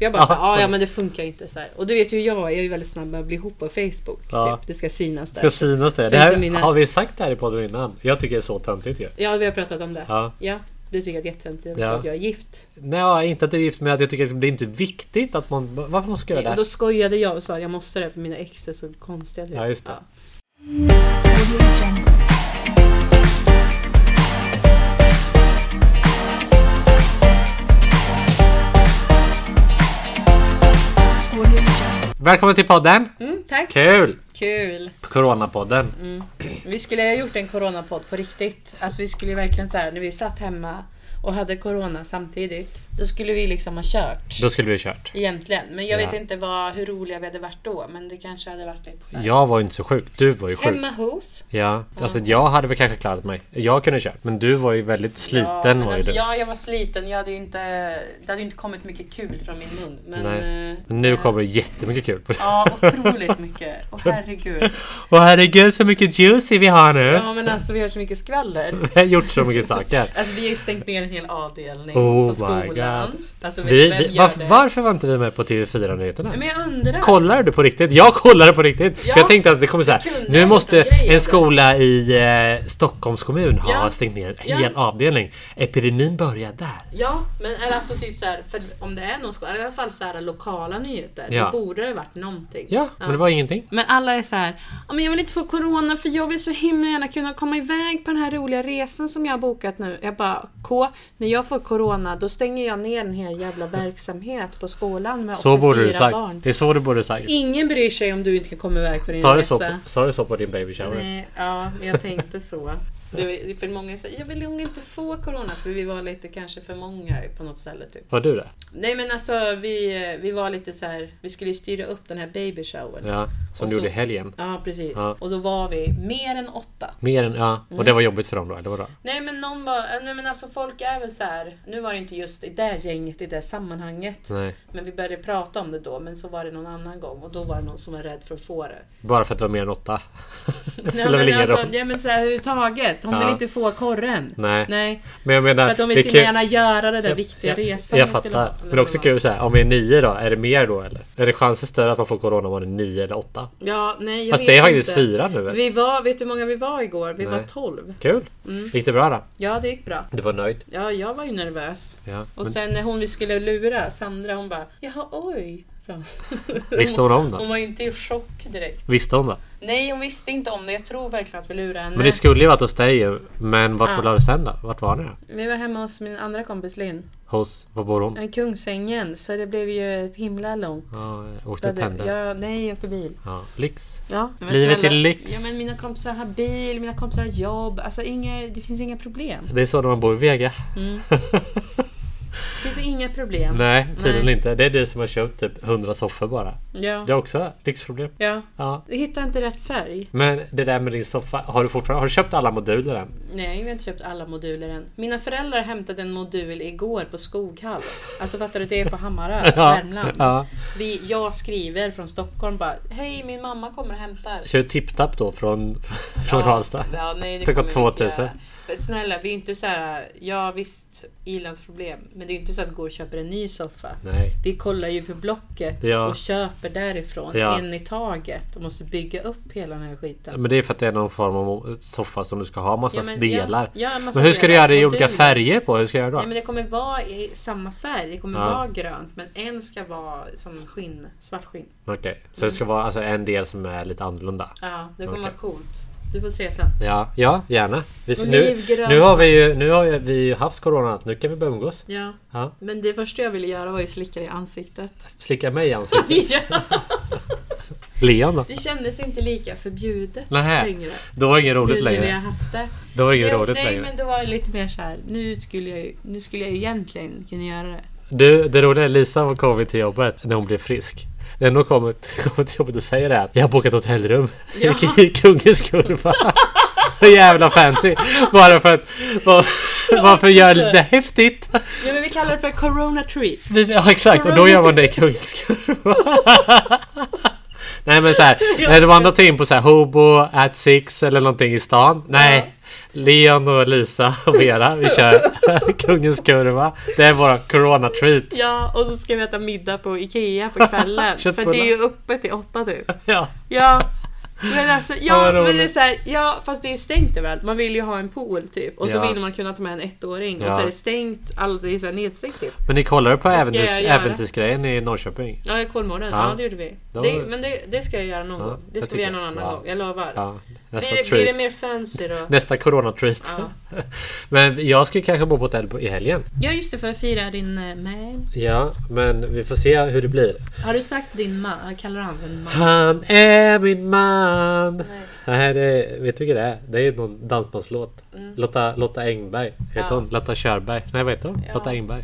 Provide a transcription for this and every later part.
Jag bara såhär, Aha. ah, ja men det funkar inte så här. Och du vet ju hur jag är, jag är ju väldigt snabb med att bli ihop på Facebook. Ja. Typ. Det ska synas där. Ska synas det. Så det här, inte mina- Har vi sagt det här i podden innan? Jag tycker det är så töntigt ju. Ja, vi har pratat om det. Ja. Ja. du tycker att det är jättehäftigt Ja. att jag är gift. Nej, inte att du är gift men att jag tycker att det är inte viktigt att man... Varför man ska göra det? Ja, här? då skojade jag och sa att jag måste det för mina ex är så konstiga. typ. Ja, just det. Välkommen till podden! Mm, tack! Kul! Kul! Coronapodden. Vi skulle ha gjort en coronapodd på riktigt. Alltså vi skulle ju verkligen så här, när vi satt hemma och hade corona samtidigt. Då skulle vi liksom ha kört. Då skulle vi ha kört. Egentligen. Men jag Ja. vet inte vad, hur roliga vi hade varit då. Men det kanske hade varit lite så här. Jag var ju inte så sjuk. Du var ju sjuk. Hemma hos. Ja, alltså jag hade väl kanske klarat mig. Jag kunde kört. Men du var ju väldigt sliten ja, men var ju alltså, du. Ja, jag var sliten. Jag hade ju inte, det hade ju inte kommit mycket kul från min mun. Men, Nej. eh, Men nu eh, kommer det jättemycket kul på det. Ja, otroligt mycket. Åh herregud. Och herregud så mycket juicy vi har nu! Ja, men alltså vi har så mycket skvaller. Vi har gjort så mycket saker. Alltså vi har ju stängt ner en hel avdelning Oh på my skolan. Alltså, vet Vi, du, vem vi, gör varför, det? varför var inte vi med på TV4-nyheterna? Men jag undrar. Kollar du på riktigt? Jag kollade på riktigt! Ja, För jag tänkte att det kommer så här. det kunde Nu ha måste varit en grej en ändå. skola i eh, Stockholms kommun ha Ja. stängt ner en Ja. hel avdelning. Epidemin börjar där. Ja, men eller alltså typ så här, för om det är någon skola, eller i alla fall så här lokala nyheter, Ja. då borde det varit någonting. Ja, men det var ingenting. Men alla är så här, "Ja, men jag vill inte få corona för jag vill så himla gärna kunna komma iväg på den här roliga resan som jag har bokat nu. Jag bara, K, när jag får corona då stänger jag ner en hel jävla verksamhet på skolan med Så 84 borde du sagt. barn. Det är så du borde sagt. Ingen bryr sig om du inte kan komma iväg på din Sa du, så på, resa. sa du så på din baby shower? Nej, ja, men jag tänkte så. Det, är- för många säger, jag vill nog inte få corona för vi var lite kanske för många på något ställe typ. Var du det? Nej men alltså vi, vi var lite så här, vi skulle ju styra upp den här baby showern. Ja, som Och du så- gjorde i helgen. Ja, precis. Ja. Och då var vi mer än åtta. Mer än, ja. Och Mm. det var jobbigt för dem då, eller vadå? Nej men någon var, nej men alltså folk är väl så här. nu var det inte just i det gänget, i det sammanhanget. Nej. Men vi började prata om det då, men så var det någon annan gång och då var det någon som var rädd för att få det. Bara för att det var mer än åtta. Det Nej, spelar väl men ingen alltså, roll. ja men så här, överhuvudtaget, hon vill Ja. inte få korren. Nej. Nej. Men jag För menar, att de vill det så är kul- gärna göra den där viktiga jag, resan. Jag de skulle fattar. ha. Men det är också kul såhär, om vi är nio då, är det mer då eller? Är det chansen större att man får corona om man är nio eller åtta? Ja, nej jag Fast vet det är faktiskt inte. fyra nu väl? Vi var, vet du hur många vi var igår? Vi var Nej. 12. Kul! Mm. Gick det bra då? Ja, det gick bra. Du var nöjd? Ja, jag var ju nervös. Ja. Och men sen när hon vi skulle lura, Sandra, hon bara Jaha, oj. Så. visste hon om Hon det? var ju inte i chock direkt. Visste hon det? Nej, hon visste inte om det. Jag tror verkligen att vi lurade henne. Men det skulle ju varit hos dig ju. Men vart Ja. var du sen då? Vart var ni då? Vi var hemma hos min andra kompis Linn. Hos? Var bor hon? I Kungsängen. Så det blev ju ett himla långt. Ja, jag Ja, åkte det- pendel. ja, nej, jag åkte bil. Ja, lyx. Ja, men Livet är lyx. Ja, men mina kompisar har bil, mina kompisar har jobb. Alltså, inga, det finns inga problem. Det är så när man bor i Vega. Det finns inga problem. Mm. Nej, tydligen Nej. inte. Det är du som har köpt typ 100 soffor bara. Ja. Det är också lyxproblem. ja. Ja. Jag hittar inte rätt färg. Men det där med din soffa, har du fortfarande har du köpt alla moduler än? Nej, vi har inte köpt alla moduler än. Mina föräldrar hämtade en modul igår på Skoghall. Alltså fattar du, det är på Hammarö, Värmland. ja. Vi, jag skriver från Stockholm bara Hej, min mamma kommer och hämtar. Kör tipptapp då från, från Karlstad. Ja, nej, det Det går kommer vi inte 2000. göra. Men snälla, vi är inte så här. Ja visst, i-landsproblem. Men det är inte så att vi går och köper en ny soffa. Nej. Vi kollar ju på Blocket Ja. och köper därifrån, Ja. en i taget. Och måste bygga upp hela den här skiten. Men det är för att det är någon form av soffa som du ska ha massa Ja, men- delar. ja, ja, massa men hur ska du delar. göra det i olika Moduler. färger på? Hur ska jag göra Nej då? men det kommer vara i samma färg, det kommer Ja. vara grönt men en ska vara som skinn, svart skinn. Okej, så det ska vara alltså, en del som är lite annorlunda. Ja, det kommer Okej. vara coolt. Du får se sen. Ja, ja gärna. Vi, Och nu, olivgrön nu har soffa. vi ju nu har ju- vi ju haft corona, nu kan vi börja umgås. Ja. Ja. Men det första jag ville göra var ju slicka i ansiktet. Slicka mig i ansiktet. ja. Leon då? Det kändes inte lika förbjudet Nähä. längre. Då var det inget roligt nu när vi längre. har haft det. Då var det inget Jo, roligt nej längre. men det var ju lite mer så här. Nu skulle, jag, ju- nu skulle jag ju egentligen kunna göra det. Du, det roliga är Lisa har kommit till jobbet när hon blev frisk. När hon kommer, kommer till jobbet och säger det här. Jag har bokat hotellrum Ja. i, i Kungens Kurva. Så jävla fancy. Bara för att... Var, varför göra det lite häftigt? Ja men vi kallar det för corona treat. Vi- Ja exakt, och då gör man det i Kungens Kurva. Nej men såhär, när de andra tar in på såhär Hobo at six eller någonting i stan. Nej. Leon och Lisa och Vera. Vi kör Kungens kurva. Det är våra corona-treat. Ja, och så ska vi äta middag på IKEA på kvällen. för Köttbullar. det är ju uppe till åtta typ. Ja. Ja. Men alltså, Ja, ja, men vad det är roligt. så här, ja, fast det är ju stängt överallt. Man vill ju ha en pool typ. Och så Ja. vill man kunna ta med en ettåring. Och Ja. så är det stängt. All, det är så här nedstängt typ. Men ni kollade på Det ska äventyrs, jag göra. äventyrsgrejen i Norrköping? Ja, i Kolmården. Ja. Ja. det gjorde vi. Det Det, var- men det, det ska jag göra någon Ja, gång. Det jag ska vi göra tycker- någon annan wow. gång. Jag lovar. Ja, nästa blir, det, treat. blir det mer fancy då? Nästa corona-treat. Ja. Men jag skulle kanske bo på hotell på- i helgen. ja, just det. För att fira din eh, man. Ja, men vi får se hur det blir. Har du sagt din man? Jag kallar han för en man. Han är min man. Nej. Nej, det, vet du vilka det är? Det är ju någon dansbandslåt. Mm. Lotta, Lotta Engberg. Heter Ja. hon? Lotta Körberg? Nej, vad heter hon? Ja. Lotta Engberg.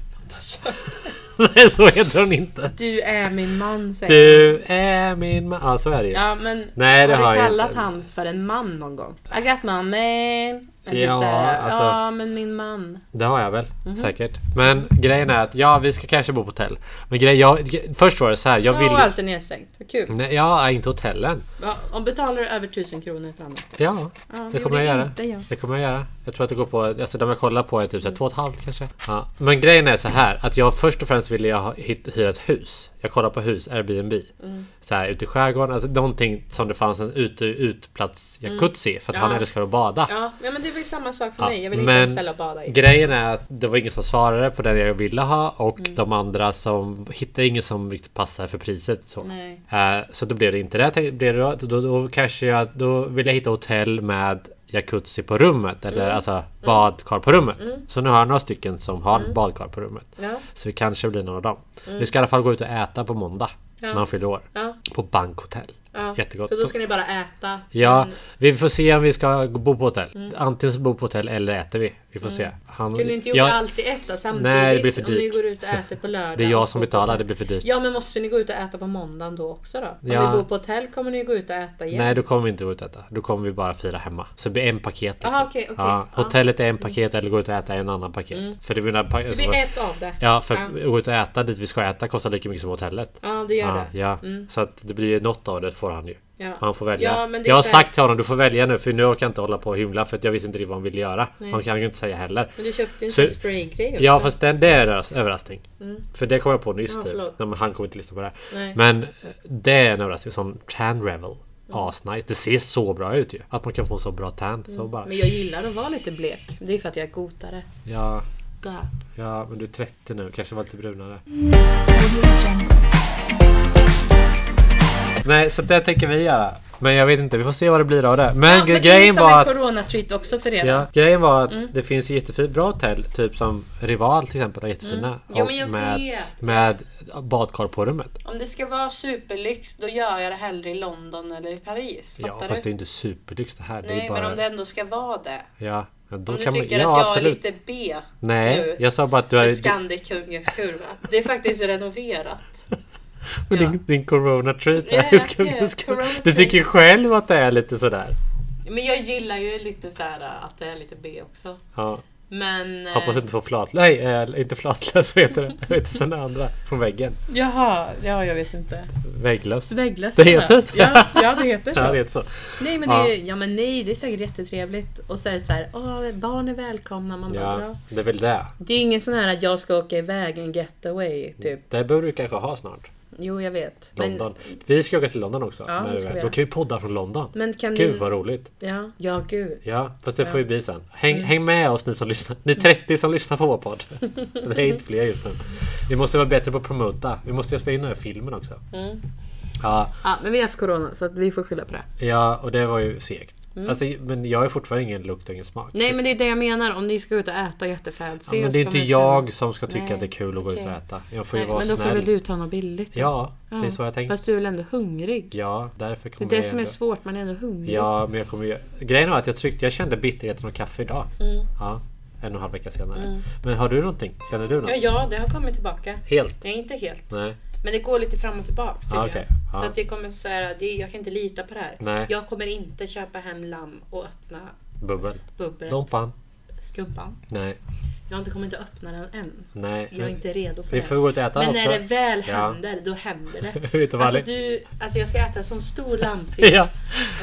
Nej, så heter hon inte. Du är min man säger han. Du är min man. Ja, så är det ju. Ja men Nej, det har du har jag kallat inte. han för en man någon gång? I got my man. Eller typ Ja, så här, alltså- ja men min man. Det har jag väl Mhm. säkert. Men grejen är att ja, vi ska kanske bo på hotell. Men grejen, jag, först var det så här. Jag Jag vill Mm. Och allt är nedstängt. Vad kul. Nej, ja, inte hotellen. Ja, om betalar du över 1000 kronor framåt. Ja, Ja, det gjorde kommer jag göra. Inte, jag. Det kommer jag göra. Jag tror att det går på, alltså de jag kollar på är typ så här två och ett halvt kanske. Ja. Men grejen är så här att jag först och främst ville jag ha- hit- hyra ett hus. Jag kollar på hus, Airbnb. Så här ute i skärgården, alltså någonting som det fanns en ute, utplats jacuzzi för att han Ja. älskar att bada. Ja, ja men det var ju samma sak för Ja, mig. Jag vill inte men- ens ställa och bada i. Grejen är att det var ingen som svarade på den jag ville ha och de andra som hittade ingen som riktigt passade för priset. Så. Nej. Eh, Så då blev det inte det. Jag tänkte, blev det då, då, då kanske jag då vill jag hitta hotell med jacuzzi på rummet eller Mm. alltså badkar på rummet. Så nu har jag några stycken som har Mm. badkar på rummet. Ja, Så vi kanske blir någon av dem. Vi ska i alla fall gå ut och äta på måndag Mm. Ja. när han fyller år. ja, På bankhotell. ja. Jättegott. Så då ska ni bara äta. Mm. Ja, Men vi får se om vi ska bo på hotell. Antingen så bo på hotell eller äter vi. Vi får se. Han, Mm. kunde ni inte gjort jag- allt i ett då, samtidigt? Nej, det blir för Om ni dyrt. går ut och äter på lördag. det är och jag som på betalar, hotell. det blir för dyrt. Ja men måste ni gå ut och äta på måndagen då också då? Om Ja. ni bor på hotell kommer ni gå ut och äta igen? Nej, då kommer vi inte gå ut och äta. Då kommer vi bara fira hemma. Så det blir en paket. Liksom. Aha, okej, okej. Ja, Ja. Mm. hotellet är en paket eller gå ut och äta är en annan paket. För det blir, en pa- Det blir ett av det. Ja, för att gå ut och äta dit vi ska äta kostar lika mycket som hotellet. Ja, det gör Ja, det. ja. Så att det blir ju något av det får han ju. Ja. Han får välja. Ja, men det är jag har så här- sagt till honom du får välja nu för nu orkar jag inte hålla på och hymla för att jag visste inte riktigt vad han ville göra. Nej. Han kan ju inte säga heller. Men du köpte ju en Så- sån spraygrej också. Mm. Ja fast den, det är en överraskning. För det kom jag på nyss Ja, typ. förlåt. Nej, men han kommer inte lyssna på det här. Nej. Men eh, det är en överraskning. Som tan revel. Mm. Asnice. Det ser så bra ut ju. Att man kan få så bra tan. Så bara, Mm. Men jag gillar att vara lite blek. Det är för att jag är gotare. ja, Där. ja men du är 30 nu. Kanske var lite brunare. Nej så det tänker vi göra. Men jag vet inte. Vi får se vad det blir av det. Men, ja, men det är grejen som var en Mm. att coronatreat också för er. Ja, grejen var att det finns ju jättefint bra hotell, typ som Rival till exempel, har jättefina. Mm. Jo, Och men jag med, vet. med badkar på rummet. Om det ska vara superlyx då gör jag det hellre i London eller i Paris. Ja, Fattar fast du? det är ju inte superlyx det här. det är Nej, bara, men om det ändå ska vara det. Ja, ja, då Om du kan man, tycker ja, att jag absolut. är lite B Nej, nu jag sa bara att du har... med Scandic-kungens kurva. Det är faktiskt renoverat. Men ja. din, din corona-treat här. Yeah, ska- yeah, ska- corona-treat. Du tycker själv att det är lite sådär. Men jag gillar ju lite så här äh, att det är lite B också. Ja, Men... eh, hoppas du inte får flat... Nej, eh, inte flatlös vad heter det. Vad heter sådana andra? Från väggen. Jaha, ja jag vet inte. Vägglös. Vägglöss. Det heter? Ja, ja det heter så. Ja, det heter så. Nej men det är, ja. men nej, det är säkert jättetrevligt. Och så är det så här, åh, barn är välkomna. Man bara, Ja, bra. det är väl det. Det är ingen sån här att jag ska åka iväg en getaway typ. Det bör du kanske ha snart. Jo jag vet. London. Vi ska åka till London också. Ja, när det vi ska är. vi göra. Då Mm. kan vi podda från London. Men kan Gud ni- vad roligt. Ja, ja gud. Ja, fast det får ju bli sen. Häng, Mm. häng med oss ni som lyssnar. Ni 30 som lyssnar på vår podd. Det är inte fler just nu. Vi måste vara bättre på att promota. Vi måste ju spela in den här filmen också. Mm. Ja, Ja, men vi har haft corona så att vi får skylla på det. ja, och det var ju segt. Alltså, men jag är fortfarande ingen lukt och ingen smak. Mm. Nej men det är det jag menar, om ni ska ut och äta jättefancy. Ja, men och det så är inte kommer känna- jag som ska tycka Nej, att det är kul att gå ut och okej. äta. Jag får Nej, ju vara men då snäll. får väl du ta något billigt då. Ja, det är Ja. så jag tänker. Fast du är väl ändå hungrig? Ja, därför Det är kommer det jag som är ändå- svårt, man är ändå hungrig. Ja, men jag kommer ju... Grejen var att jag tryckte, jag kände bitterheten av kaffe idag. Mm. Ja, en och en halv vecka senare. Men har du någonting? Känner du något? Ja, ja, det har kommit tillbaka. Helt? Det är inte helt. Nej. Men det går lite fram och tillbaks Ah, tydligen. okej. Så Ja. att det kommer så här, det, jag kan inte lita på det här. Nej. Jag kommer inte köpa hem lamm och öppna Bubbel? bubbel. Dompan? skumpan. Nej, Jag har inte kommit att öppna den än. nej. Jag är inte redo för Vi får det. gå ut och äta Men också. när det väl Ja. händer, då händer det. Vet du vad Alltså, det- du, alltså jag ska äta en sån stor lammstek. Ja,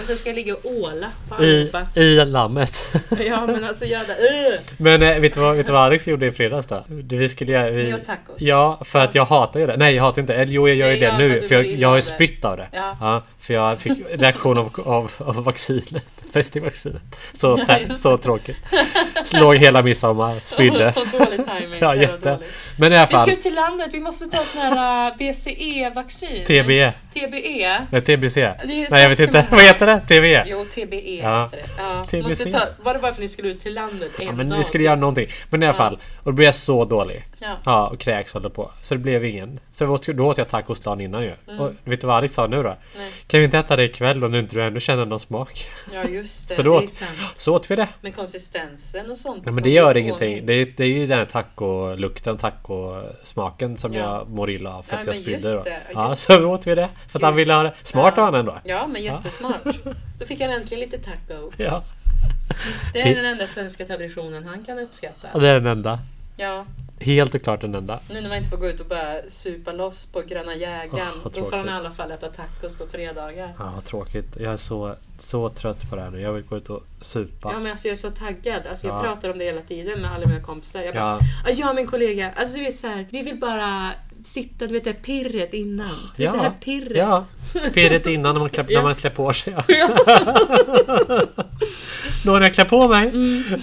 Och sen ska jag ligga och åla på i, allihopa. I lammet. Ja men alltså jag bara Ugh! Men eh, vet, du vad, vet du vad Alex gjorde i fredags då? Du, Vi skulle göra... Ni Vi, åt tacos. ja, för att jag hatar ju det. Nej, jag hatar inte. Eller jo, jag gör ju Nej, det jag nu. fattar, du För jag, mår illa jag har ju av det. spytt av det. Ja. för jag fick reaktion av, av, av vaccinet. Festivaccinet. Så, Ja, tä- just det. så tråkigt. Slog hela midsommar. Spydde. Dålig timing. Ja, så jävla jätte. dålig. Men i alla Vi fall. ska ut till landet, vi måste ta sån här äh, BCE-vaccin. TBE. TBE. Nej, TBC. E. Det är E. Nej, jag vet så- inte. Vad heter det? E? TBE. Jo, TBE Ja. heter det. Ja. TBC. Måste ta, var det bara för att ni skulle ut till landet en Ja, men dag? vi skulle göra någonting. Men i alla Ja. fall. Och då blev jag så dålig. Ja. Ja, och kräks håller på. Så det blev ingen. Så då åt, då åt jag tacos dagen innan ju. Mm. Och vet du vad Alex sa nu då? Nej. Kan vi inte äta det ikväll om du inte du ändå känner någon smak? ja, just det. Så då- Det är sant. Så åt vi det. Men konsistensen och sånt. Nej men det gör ingenting. Det är, det är ju den här tacolukten, tacosmaken som Ja. jag mår illa av för Ja, att jag men spydde just det. då. Ja, Ja, just så då åt vi det. För att han Gud. ville ha det. Smart Ja. av han ändå. Ja, men jättesmart. Då fick han äntligen lite taco. Ja. Det Det- är den enda svenska traditionen han kan uppskatta. Det är den enda. Ja, Helt och klart den enda. nu när man inte får gå ut och bara supa loss på Gröna jägaren. Åh, vad då får han tråkigt. i alla fall äta tacos på fredagar. Ja, vad tråkigt. Jag är så, så trött på det här nu. Jag vill gå ut och supa. Ja men alltså jag är så taggad. Alltså jag Ja. pratar om det hela tiden med alla mina kompisar. Jag bara, Ja. "Ah, jag och min kollega, alltså du vet så här, vi vill bara sitta, du vet det här pirret innan. Du vet det här pirret. Ja, pirret innan när man klär, Ja. när man klär på sig. Då när jag klär på mig.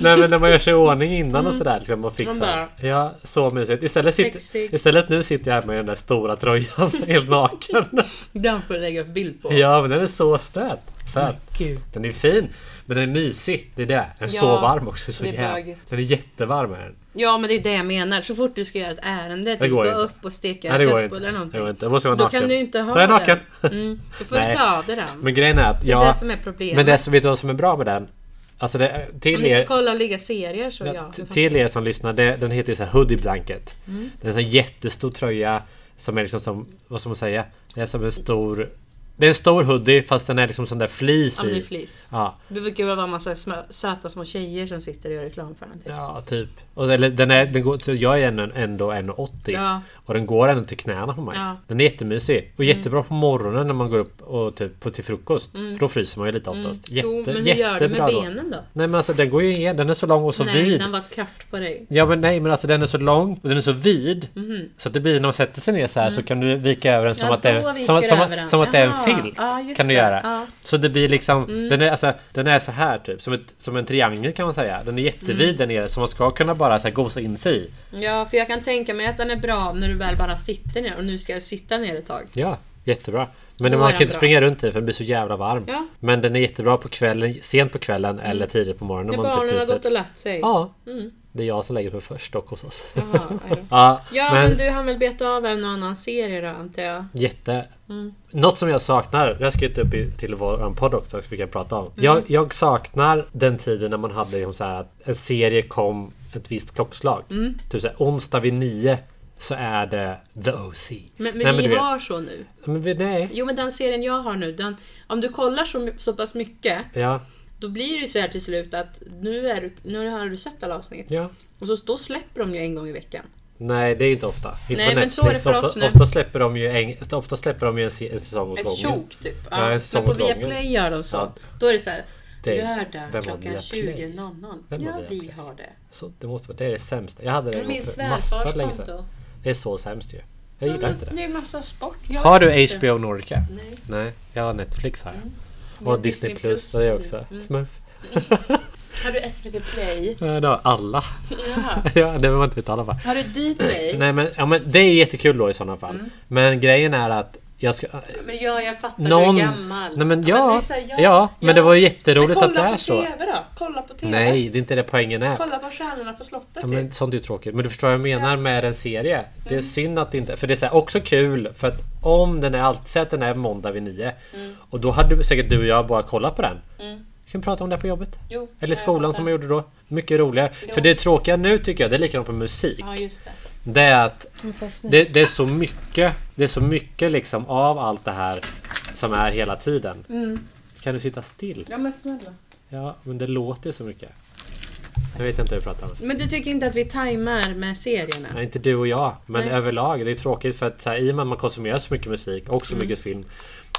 Nej men när man gör sig i ordning innan och sådär. Liksom, och Mm. Man fixar. bara- Ja, så mysigt. Istället, sitter, Sexigt. istället nu sitter jag här med den där stora tröjan helt naken. Den får du lägga upp bild på. Oh Ja men den är så söt. Söt. Gud. Den är fin. Men den är mysig. Det är det. Den är Ja, så varm också. Så det är jävla. bögigt. Den är jättevarm är den. Ja men det är det jag menar. Så fort du ska göra ett ärende, typ gå går inte. upp och steka Nej det går köttbullar eller inte. Det någonting. går inte. Jag måste vara Då naken. kan du inte ha Då är jag naken. den. Mm, då får Nej. du ta av dig den. Men grejen är att Det är jag... det som är problemet. Men det som, vet du vad som är bra med den? Alltså det, Om till ni ska er, kolla och ligga serier så ja. ja, t- till er som lyssnar, det, den heter ju så här Hoodie Blanket. Mm. Det är en sån här jättestor tröja som är liksom som, vad ska man säga? Det är som en stor... Det är en stor hoodie fast den är liksom sån där flis Om ni i. flis. Ja, Det brukar väl vara en massa smö, söta små tjejer som sitter och gör reklam för någonting. ja typ. Och, eller den är, den går, så jag är ändå- ändå 1,80. Ja. Och den går ändå till knäna på mig. Ja. Mm. Den är jättemysig. Och jättebra på morgonen när man går upp och typ på till frukost. För då fryser man ju lite oftast. Jätte, Mm. jo, men hur gör du med jättebra då. benen då? Nej men alltså den går ju igen. Den är så lång och så Nej, vid. den var kort på dig. Ja men nej men alltså den är så lång och den är så vid Så att det blir när man sätter sig ner så här så kan du vika över den Mhm. som Mm. Ja, att det då är, viker som, som, över den. som att det är en Jaha. filt Ja, just Kan du det. göra Ja. Mm. Så det blir liksom den, är, alltså, den är så här typ som, ett, som en triangel kan man säga Den är jättevid Mm. där nere så man ska kunna bara så här, gosa in sig i Ja, för jag kan tänka mig att den är bra när du väl bara sitter ner och nu ska jag sitta ner ett tag. Ja, jättebra men Då man är kan den inte bra. springa runt i för den blir så jävla varm. Ja. Mm. Men den är jättebra på kvällen, sent på kvällen eller tidigt på morgonen. När om man typ barnen har pyser. gått och lagt sig. Ja. Det är jag som lägger mig först dock hos oss. Jaha, ja. Ja, ja men... du har väl bett av en och annan serie då antar jag? Jätte. Mm. Något som jag saknar, det har jag skrivit upp i, till vår podd också som vi kan prata om. Jag, Mm. jag saknar den tiden när man hade liksom så här att en serie kom ett visst klockslag. Mm. Typ så här, onsdag vid nio så är det The OC. Men, men Nej, men vi du vet- har så nu. Men vi, nej. Jo men den serien jag har nu, den, om du kollar så, så pass mycket Ja, Då blir det ju så här till slut att nu, är, du- nu har du sett alla avsnitt. ja. Och så då släpper de ju en gång i veckan. Nej, det är inte ofta. Inte Nej, på men så är det Netflix. för ofta, oss nu. Ofta släpper de ju en, ofta släpper de ju en, se- en säsong åt Ett gången. tjok typ. Ja, en Ja, men säsong på åt gången. Viaplay gör de så. Ja. Då är det så här. Det- vem har lördag klockan Viaplay? 20.00. Vem har Ja, vi Viaplay? har det. Så det måste vara det, är det sämsta. Jag hade det en gång Min för massa svärfars länge sedan. konto. Det är så sämst ju. Jag gillar inte det. Det är ju massa sport. Jag Har du inte. HBO Nordica? Nej. Nej, jag har Netflix här. Mm. Men Och Disney Plus har jag också. Mm. Smurf. Har du SVT Play? Eh, Det har alla. Jaha. ja, det behöver man inte betala för. Har du Dplay? Nej men, ja, men det är jättekul då i sådana fall. Mm. Men grejen är att jag ska... eh, Men ja, jag fattar. Någon- Du är gammal. Ja, Nej men men det ja, är så här, ja, men det var ju jätteroligt att det är så. Men kolla på TV då. Kolla på TV. Nej, det är inte det poängen är. Kolla på Stjärnorna på Mm. slottet Ja, typ. men sånt är ju tråkigt. Men du förstår vad jag menar med en serie. Det är synd att det inte... För det är så här, också kul för att om den är alltid... Säg att den är måndag vid nio. Mm. Och då hade du, säkert du och jag bara kollat på den. Vi kan prata om det här på jobbet. Jo, Eller skolan som man gjorde då. Mycket roligare. Jo. För det tråkiga nu tycker jag, det är likadant på musik. Ja, Mm. just det. Det är att det, det är så mycket, det är så mycket liksom av allt det här som är hela tiden. Kan du sitta still? Ja, Mm. men snälla. Ja, men det låter så mycket. Nu vet jag inte hur jag pratar om. Men du tycker inte att vi tajmar med serierna? Nej, inte du och jag, men Nej. överlag. Det är tråkigt för att så här, i och med att man konsumerar så mycket musik och så Mm. mycket film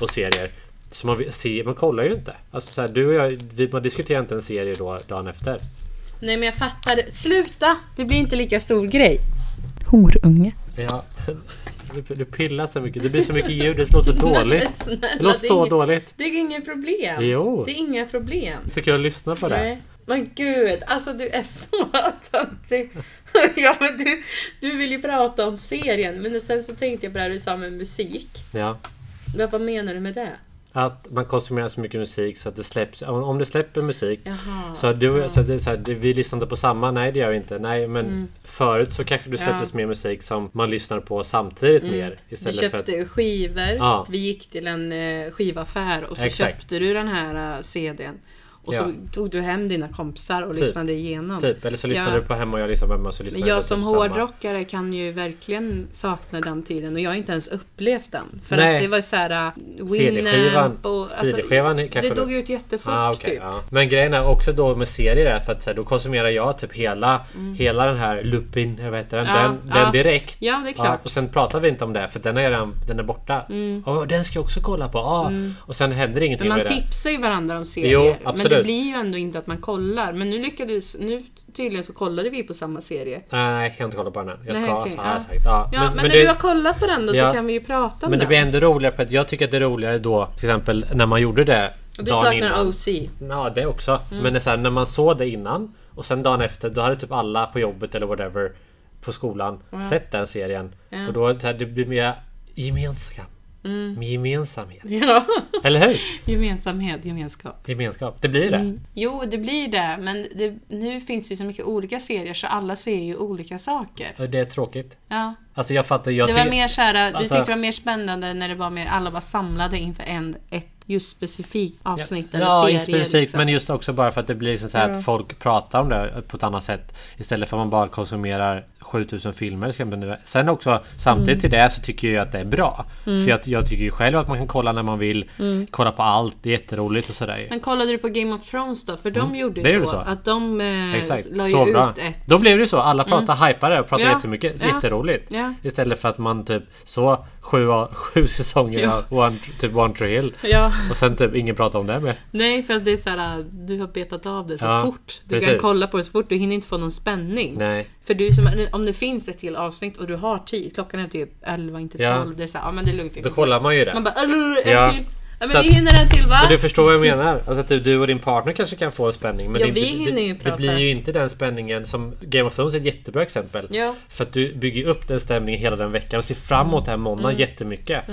och serier. Så man, vill se, man kollar ju inte. Alltså, så här, du och jag, vi, man diskuterar inte en serie då, dagen efter. Nej men jag fattar. Sluta! Det blir inte lika stor grej. Horunge. Ja, du, du pillar så mycket. Det blir så mycket ljud. Det låter så dåligt. Snälla, Det låter är så inget- dåligt. Det är inget problem. Jo. Det är inga problem. Så kan jag lyssna på det. Nej. Men gud, alltså du är så töntig. ja, men du, du vill ju prata om serien, men sen så tänkte jag på det här du sa med musik. Ja. Men vad menar du med det? Att man konsumerar så mycket musik så att det släpps. Om, om det släpper musik Jaha. Så, du, så, det, är så här, det, vi lyssnar inte på samma? Nej det gör vi inte. Nej men Mm. förut så kanske du släpptes mer musik som man lyssnar på samtidigt mer. Mm. Vi Istället för köpte ju skivor, Ja. vi gick till en eh, skivaffär och så Exakt. köpte du den här eh, CDn. Och Ja. så tog du hem dina kompisar och Typ. lyssnade igenom. att, typ, eller så lyssnar Ja. du på hemma och jag lyssnar på hemma. och Så lyssnar Men vi på jag typ som samma. hårdrockare kan ju verkligen sakna den tiden och jag har inte ens upplevt den. För Nej. att det var så här äh, CD-skivan. Winamp och... alltså, CD-skivan kanske det du- dog ut jättefort Ah, okej, typ. ja. Men grejen är också då med serier är för att så här, då konsumerar jag typ hela, hela den här Lupin, jag vet den, Mm. Ja, den, ja. den direkt. Ja, det är Ja, klart. Mm. och sen pratar vi inte om det för den är redan den är borta. Åh, den ska jag också kolla på. Ah. Och sen händer ingenting Men man med det. tipsar ju varandra om serier. Jo, men det absolut. blir ju ändå inte att man kollar. Men nu lyckades... Nu tydligen så kollade vi på samma serie. Nej, jag har inte kollat på den än. Jag ska, Nej, okej, så har jag ja. sagt. Ja, Ja, men, när det- du har kollat på den då Ja. så kan vi ju prata om Men det den. blir ändå roligare för att jag tycker att det är roligare då till exempel när man gjorde det Och du dagen saknar innan. OC. Ja, det också. Mm. Men det är så här, när man såg det innan och sen dagen efter då hade typ alla på jobbet eller whatever på skolan sett den serien. Och då är det så här, det blir mer gemensam. Mm. Med gemensamhet. Ja. Eller hur? Gemensamhet, gemenskap. Gemenskap. Det blir det. Jo, det blir det. Men det, nu finns det ju så mycket olika serier så alla ser ju olika saker. Och Det är tråkigt. Ja. Alltså jag fattar. Jag Det var tycker- mer så här, du alltså- tyckte det var mer spännande när det var mer, alla var samlade inför en, ett just specifikt avsnitt eller Ja, serie. inte specifikt liksom. men just också bara för att det blir liksom så här att folk pratar om det på ett annat sätt. Istället för att man bara konsumerar 7000 filmer. ska jag nu- Sen också samtidigt till det så tycker jag ju att det är bra. Mm. För jag, jag tycker ju själv att man kan kolla när man vill. Kolla på allt, det är jätteroligt och sådär. Men kollade du på Game of Thrones då? För de gjorde Mm. det ju så, gjorde så. att de eh, Exakt, la ju så ut bra. ett... Mm. Då blev det ju så. Alla pratar hypade och pratar Ja. jättemycket. Ja. Jätteroligt. Ja. Istället för att man typ så sju, av- sju säsonger Ja. av One, typ One Tree Hill. Ja, Och sen typ ingen pratar om det mer. nej för att det är så här, du har betat av det så Ja, fort. Du kan precis. kolla på det så fort, du hinner inte få någon spänning. Nej. För du är som, om det finns ett till avsnitt och du har tid, klockan är typ 11, inte 12. Ja. Det är så här, ja men det är lugnt. Då kollar man ju det. Man bara, "Åh, en Ja. till. Ja, men Så vi att- hinner en till va? Men du förstår vad jag menar? Alltså att du, du och din partner kanske kan få spänning. Men Ja, det, är inte- vi hinner ju det, det prata. blir ju inte den spänningen som Game of Thrones är ett jättebra exempel. Ja. För att du bygger ju upp den stämningen hela den veckan och ser fram emot den här måndagen Mm. jättemycket.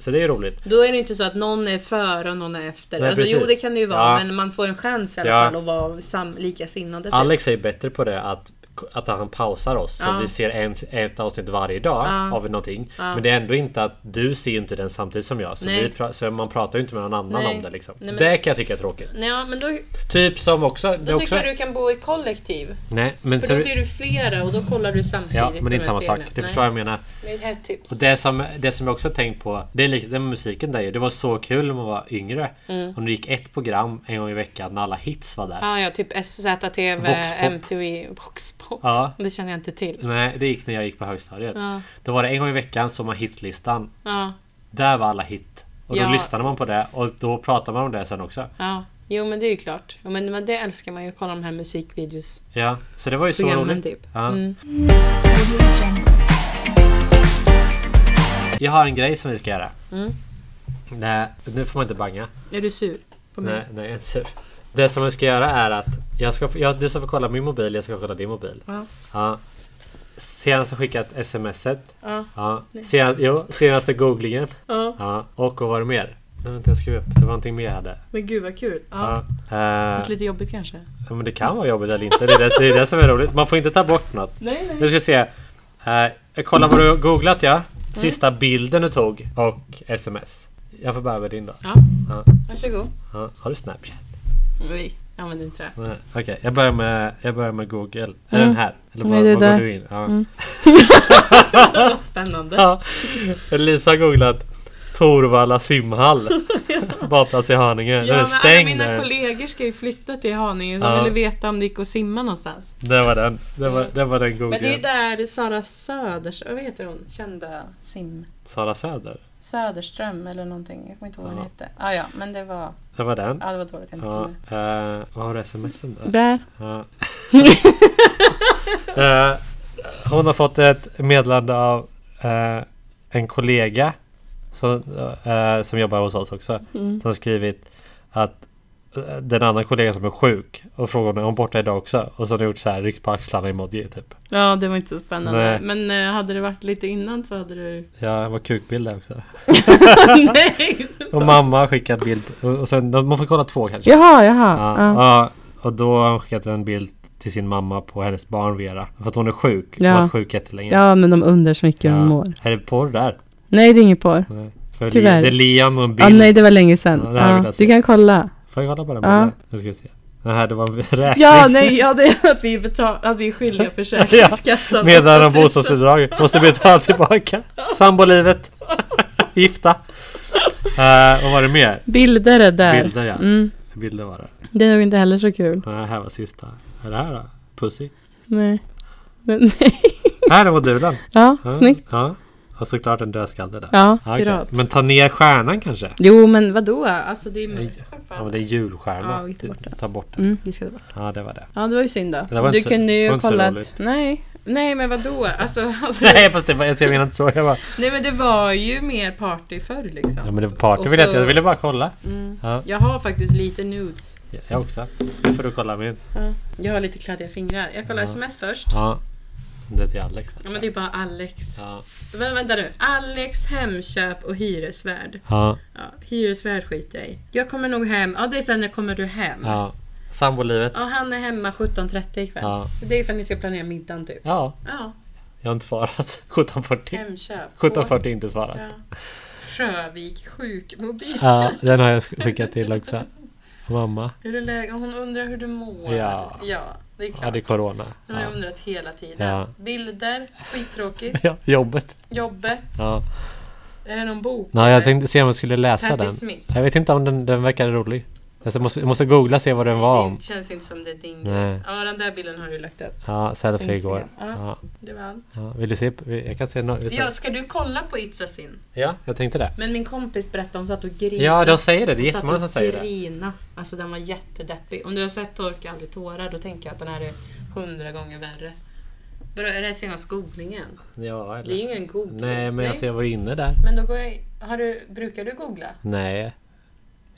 Så det är ju roligt. Då är det inte så att någon är före och någon är efter. Nej, alltså, jo, precis. det kan det ju vara, Ja. men man får en chans i alla Ja. fall att vara sam- likasinnade. Typ. Alex är ju bättre på det att att han pausar oss så Ja. vi ser en, ett avsnitt varje dag av någonting. Men det är ändå inte att du ser ju inte den samtidigt som jag. Så, Nej. vi, pra- så man pratar ju inte med någon annan Nej. om det liksom. Nej, men- Det kan jag tycka är tråkigt. Nej, ja, men då, Typ som också... det är då också tycker jag du kan bo i kollektiv. Nej, men, För så- då blir du flera och då kollar du samtidigt. ja, men på det är de inte samma här sak. serierna. Det Nej, förstår jag menar. Det är ett hett tips. Och det som, det som jag också har tänkt på, det är likt den musiken där ju. Det var så kul när man var yngre. Om det gick ett program en gång i veckan när alla hits var där. Mm. Ja, ja, typ SZTV, Voxpop. MTV, Voxpop. Ja. Det känner jag inte till. Nej, det gick när jag gick på högstadiet. Ja. Då var det en gång i veckan som var hitlistan. Ja, Där var alla hit. Och då Ja. lyssnade man på det och då pratade man om det sen också. ja. Jo, men det är ju klart. Jo, men men det älskar man ju, att kolla de här musikvideos. Ja, så det var ju så Programmen, roligt. typ. Ja. Jag har en grej som vi ska göra. Mm. Nej, nu får man inte banga. Är du sur på mig? Nej, nej, jag är inte sur. Det som vi ska göra är att jag ska, få- jag, du ska få kolla min mobil, jag ska kolla din mobil. Ja. Ja. Senast har skickat smset. Ja. Ja. Senast, jo, senaste googlingen. Ja. Ja. Och vad var det mer? Nej, vänta, jag skrev upp. Det var någonting mer jag hade. Men gud vad kul. Ja. Ja. Eh, Fast lite jobbigt kanske? ja, men det kan vara jobbigt eller inte. Det är det, det är det som är roligt. Man får inte ta bort något. Nej, nej. Nu ska vi se. Eh, jag kollar vad du har googlat ja. Mm. Sista bilden du tog och sms. Jag får börja med din då. Ja, Ja. varsågod. Ja. Har du Snapchat? Nej, jag använder inte det. Nej, Okej, jag, börjar med, jag börjar med Google. Är Mm. den här? Eller var, Nej, det är var går där. du in? Ja. Vad spännande. Ja. Lisa har googlat Torvalla simhall. Badplats i Haninge. Ja, den är men alla stängd. mina där. kollegor ska ju flytta till Haninge. De Ja. ville veta om det gick att simma någonstans. Det var den. Det var, det var den Mm. Men det är googlingen. där Sara Söders... Vad heter hon? Kända sim... Sara Söder. Söderström eller någonting. Jag kommer inte ihåg vad hon Ja. hette. Ah, ja, men det var... Det var den. Ja, det var dåligt. Jag Ja, ja. eh, vad har du sms'en där? Där. Ja. Eh, hon har fått ett meddelande av eh, en kollega som, eh, som jobbar hos oss också. Mm. Som har skrivit att eh, den andra kollegan som är sjuk och frågar om hon är borta idag också. Och så har hon gjort så här ryckt på axlarna emoji typ. Ja, det var inte så spännande. Nej. Men eh, hade det varit lite innan så hade du... Ja, det var kukbild där också. Nej! Och mamma har skickat bild. Och och sen, man får kolla två kanske. Jaha, jaha. Ja, ja, och då har hon skickat en bild till sin mamma på hennes barn Vera. För att hon är sjuk. Hon Ja. har varit sjuk jättelänge. men de undrar så mycket Ja. Är det porr där? Nej, det är inget porr. Nej. För Tyvärr. Li- Det är Liam och en bild. det var länge sedan. Ja, det här vill jag se. kan kolla. Får jag kolla på den Ja. bilden? Nu ska vi se. Den här, det var en räkning. Ja, nej, ja, det är att vi, betal, att vi är skyldiga Försäkringskassan. Typ Medan de 8000. bostadsbidrag måste betala tillbaka. Sambolivet. Gifta. Eh, och vad är det mer? Bilder är där. Bilder ja. Mm, Bilder var det. det är nog inte heller så kul. Den här var sista. Vad är det här då? Pussy. Nej. Men, nej. Här det var modulen. Ja, Ja. snyggt. Ja. Och såklart en dödskalle där. Ja, Ja, okej. pirat. Men ta ner stjärnan kanske? Jo, men vadå? Alltså det är Nej. mörkt Ja men fortfarande. det är julstjärna. Ja, vi tar bort den. ta bort den. Mm, det ska det vara. Ja det var det. Ja, det var ju synd då. var du inte så- kunde det var ju inte så kollat. roligt. Nej. Nej, men vadå? Alltså, hade du- Nej fast det var, jag menar inte så. Jag bara, nej, men det var ju mer party förr liksom. ja men det var party Och ville jag så- inte. Jag ville bara kolla. Mm. Ja. Jag har faktiskt lite nudes. Ja, Jag också. Nu får du kolla min. Jag har lite kladdiga fingrar. Jag kollar Ja. sms först. Ja. Det är till Alex. Ja men det är bara Alex. Ja. Vä- vänta nu. Alex, Hemköp och hyresvärd. Ja. Ja, hyresvärd skiter jag i. Jag kommer nog hem. Ja det är sen när kommer du hem. Ja. ja. Sambolivet. han är hemma 17.30 ikväll. Ja. Det är ifall ni ska planera middagen typ. Ja. Ja, Jag har inte svarat. 1740. Hemköp. 1740 är inte svarat. Ja. Frövik sjukmobil. Ja, den har jag skickat till också. Mamma. Hur är läget? Hon undrar hur du mår. Ja. ja det är klart. Ja, det är corona. Hon har Ja. undrat hela tiden. Ja. Bilder, skittråkigt. Ja, jobbet. Jobbet. Ja. Är det någon bok? Nej, jag eller? tänkte se om jag skulle läsa Patti den. Smith. Jag vet inte om den, den verkar rolig. Alltså, Jag måste, jag måste googla och se vad den var om. Det känns inte som det är din grej. Nej. Ja, den där bilden har du lagt upp. Ja, selfie igår. Ja, Ja, det var allt. ja. Vill du se? Jag kan se no Ja, ska du kolla på It's a sin? Ja, jag tänkte det. Men min kompis berättade om satt och grinade. Ja, de säger det. Det är Hon satt jättemånga och som säger det. grina. Alltså den var jättedeppig. Om du har sett Torka aldrig tårar, då tänker jag att den här är hundra gånger värre. Vadå, är det senaste googlingen? Ja, Det är ju eller? ingen googling. Nej, men alltså jag var inne där. Men då går jag i- har du, Brukar du googla? Nej,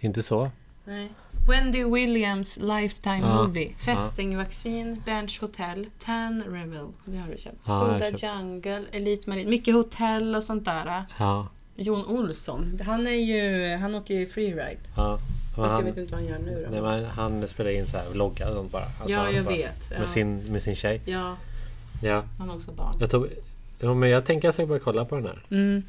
inte så. Nej. Wendy Williams Lifetime Ja. Movie. Fästingvaccin, Bench Hotel, Tan Revel. Det har du köpt. Ja, jag har Soda köpt. Jungle, Elite Marine. Mycket hotell och sånt där. Ja, Jon Olsson. Han är ju... Han åker ju freeride. ja. Fast Men jag han, vet inte vad han gör nu då. nej, men han spelar in så här vloggar och sånt bara. Alltså, ja, han jag bara, vet. Ja. Med sin, med sin tjej. ja, Ja, han har också barn. jag tog... Ja, men jag tänker att jag ska börja kolla på den här. Mm.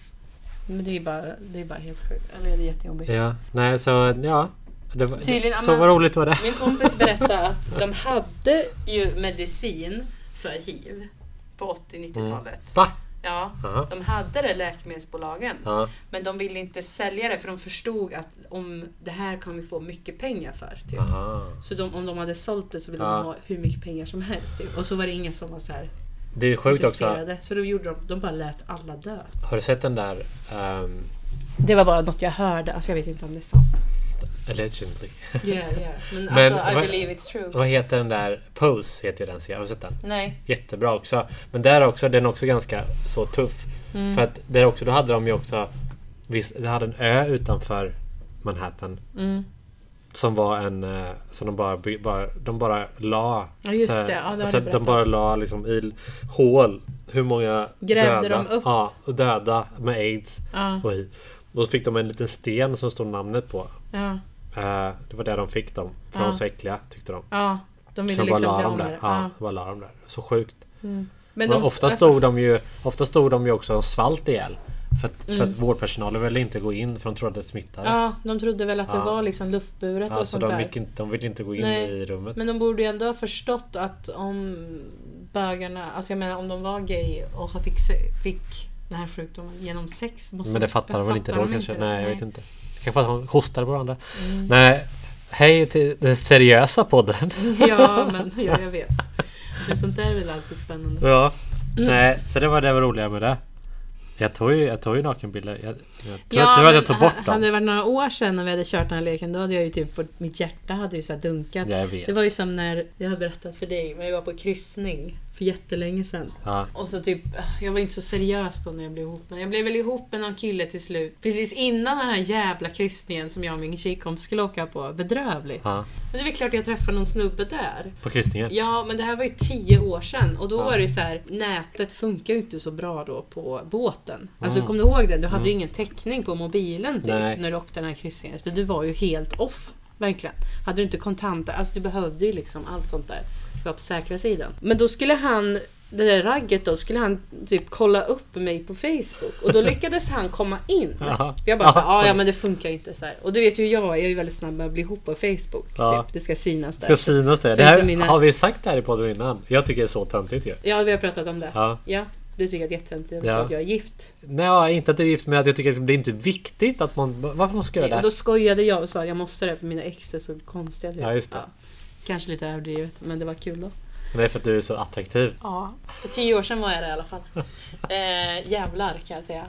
Men det är bara, det är bara helt sjukt. Eller det är jättejobbigt. Ja, nej så ja. Det var, Tydligen, så vad Amanda- roligt var det. Min kompis berättade att de hade ju medicin för hiv på 80-90-talet. Mm. Va? Ja, Jaha. de hade det läkemedelsbolagen. Ja, Men de ville inte sälja det för de förstod att om det här kan vi få mycket pengar för. Typ. aha. Så de, om de hade sålt det så ville Ja. de ha hur mycket pengar som helst. Typ. Och så var det ingen som var så här Det är sjukt också. intresserade. Så då gjorde de, de bara lät alla dö. Har du sett den där ehm, Det var bara något jag hörde, alltså jag vet inte om det är sant. Allegedly? Yeah, yeah. Men, Men alltså I vad- believe it's true. Vad heter den där? Pose heter ju den serien. Har du sett den? Nej. Jättebra också. Men där också, den är också ganska så tuff. Mm. För att där också, då hade de ju också... Visst, det hade en ö utanför Manhattan. Mm. Som var en... eh, Som de bara, by- bara, de bara la... Ja, just så här- det. Ja, det har du alltså, berättat. de bara la liksom i hål. Hur många Grävde döda, de upp? Ja, och döda med aids Ja, och hiv. Då fick de en liten sten som stod namnet på. ja, Eh, det var där de fick dem. För de Ja. var så äckliga tyckte de. ja. De ville Så bara liksom la bli dem av med där. det. Ja, Ja. bara la dem där. Så sjukt. Men Men de, ofta, alltså, stod de ju, ofta stod de ju också och svalt ihjäl. För att, för att vårdpersonalen ville inte gå in för de trodde att det smittade. Mm. ja, de trodde väl att det Ja. var liksom luftburet Ja, och så sånt de, där. gick inte, de ville inte gå in Nej. i rummet. Men de borde ju ändå ha förstått att om bögarna, alltså jag menar om de var gay och fick, se- fick den här sjukdomen. Genom sex måste Men det fattar de väl inte då de Mm. kanske? det? Nej, jag vet inte. Kanske att hon hostar på varandra. Nej. Hej till den seriösa podden. Ja, men ja, jag vet. Men sånt där är väl alltid spännande. Ja. Mm. Nej, så det var det var roliga med det. Jag tog ju, jag tog ju nakenbilder. Jag, jag tror, tror att men jag tog bort Hade det dem. varit några år sedan när vi hade kört den här leken, då hade jag ju typ fått, mitt hjärta hade ju så här dunkat. Ja, jag vet. Det var ju som när, jag har berättat för dig, men jag var på kryssning för jättelänge sedan. Ja. Och så typ, jag var inte så seriös då när jag blev ihop med Jag blev väl ihop med någon kille till slut. Precis innan den här jävla kryssningen som jag och min tjejkompis skulle åka på. Bedrövligt. ja. Men det är väl klart jag träffade någon snubbe där. På kryssningen. Ja, men det här var ju tio år sedan och då Typ. Ja. var det ju så här, nätet funkar ju inte så bra då på båten. Alltså kommer du ihåg det? Du hade ju ingen täckning på mobilen typ, Mm. Nej. när du åkte den här kryssningen. Så du var ju helt off, verkligen. Hade du inte kontanter, alltså du behövde ju liksom allt sånt där. Du var på säkra sidan. Men då skulle han, det där ragget då, skulle han typ kolla upp mig på Facebook och då lyckades han komma in. Jaha. Jag bara såhär, Jaha. "Ah, ja men det funkar inte så här. Och du vet ju hur jag var, jag är ju väldigt snabb med att bli ihop på Facebook. Ja. Typ. Det ska synas där. Ska synas det. Så det här, inte mina- Har vi sagt det här i podden innan? Jag tycker det är så töntigt ju. Ja, vi har pratat om det. Ja. du tycker att det är jättehäftigt Ja. att jag är gift. Nej, inte att du är gift men att jag tycker att det är inte viktigt att man... Varför man ska göra det? Och då skojade jag och sa jag måste det för mina ex är så konstiga. typ. Ja, just det. Kanske lite överdrivet, men det var kul då. Nej, för att du är så attraktiv. Ja, för tio år sedan var jag det i alla fall. Eh, jävlar kan jag säga.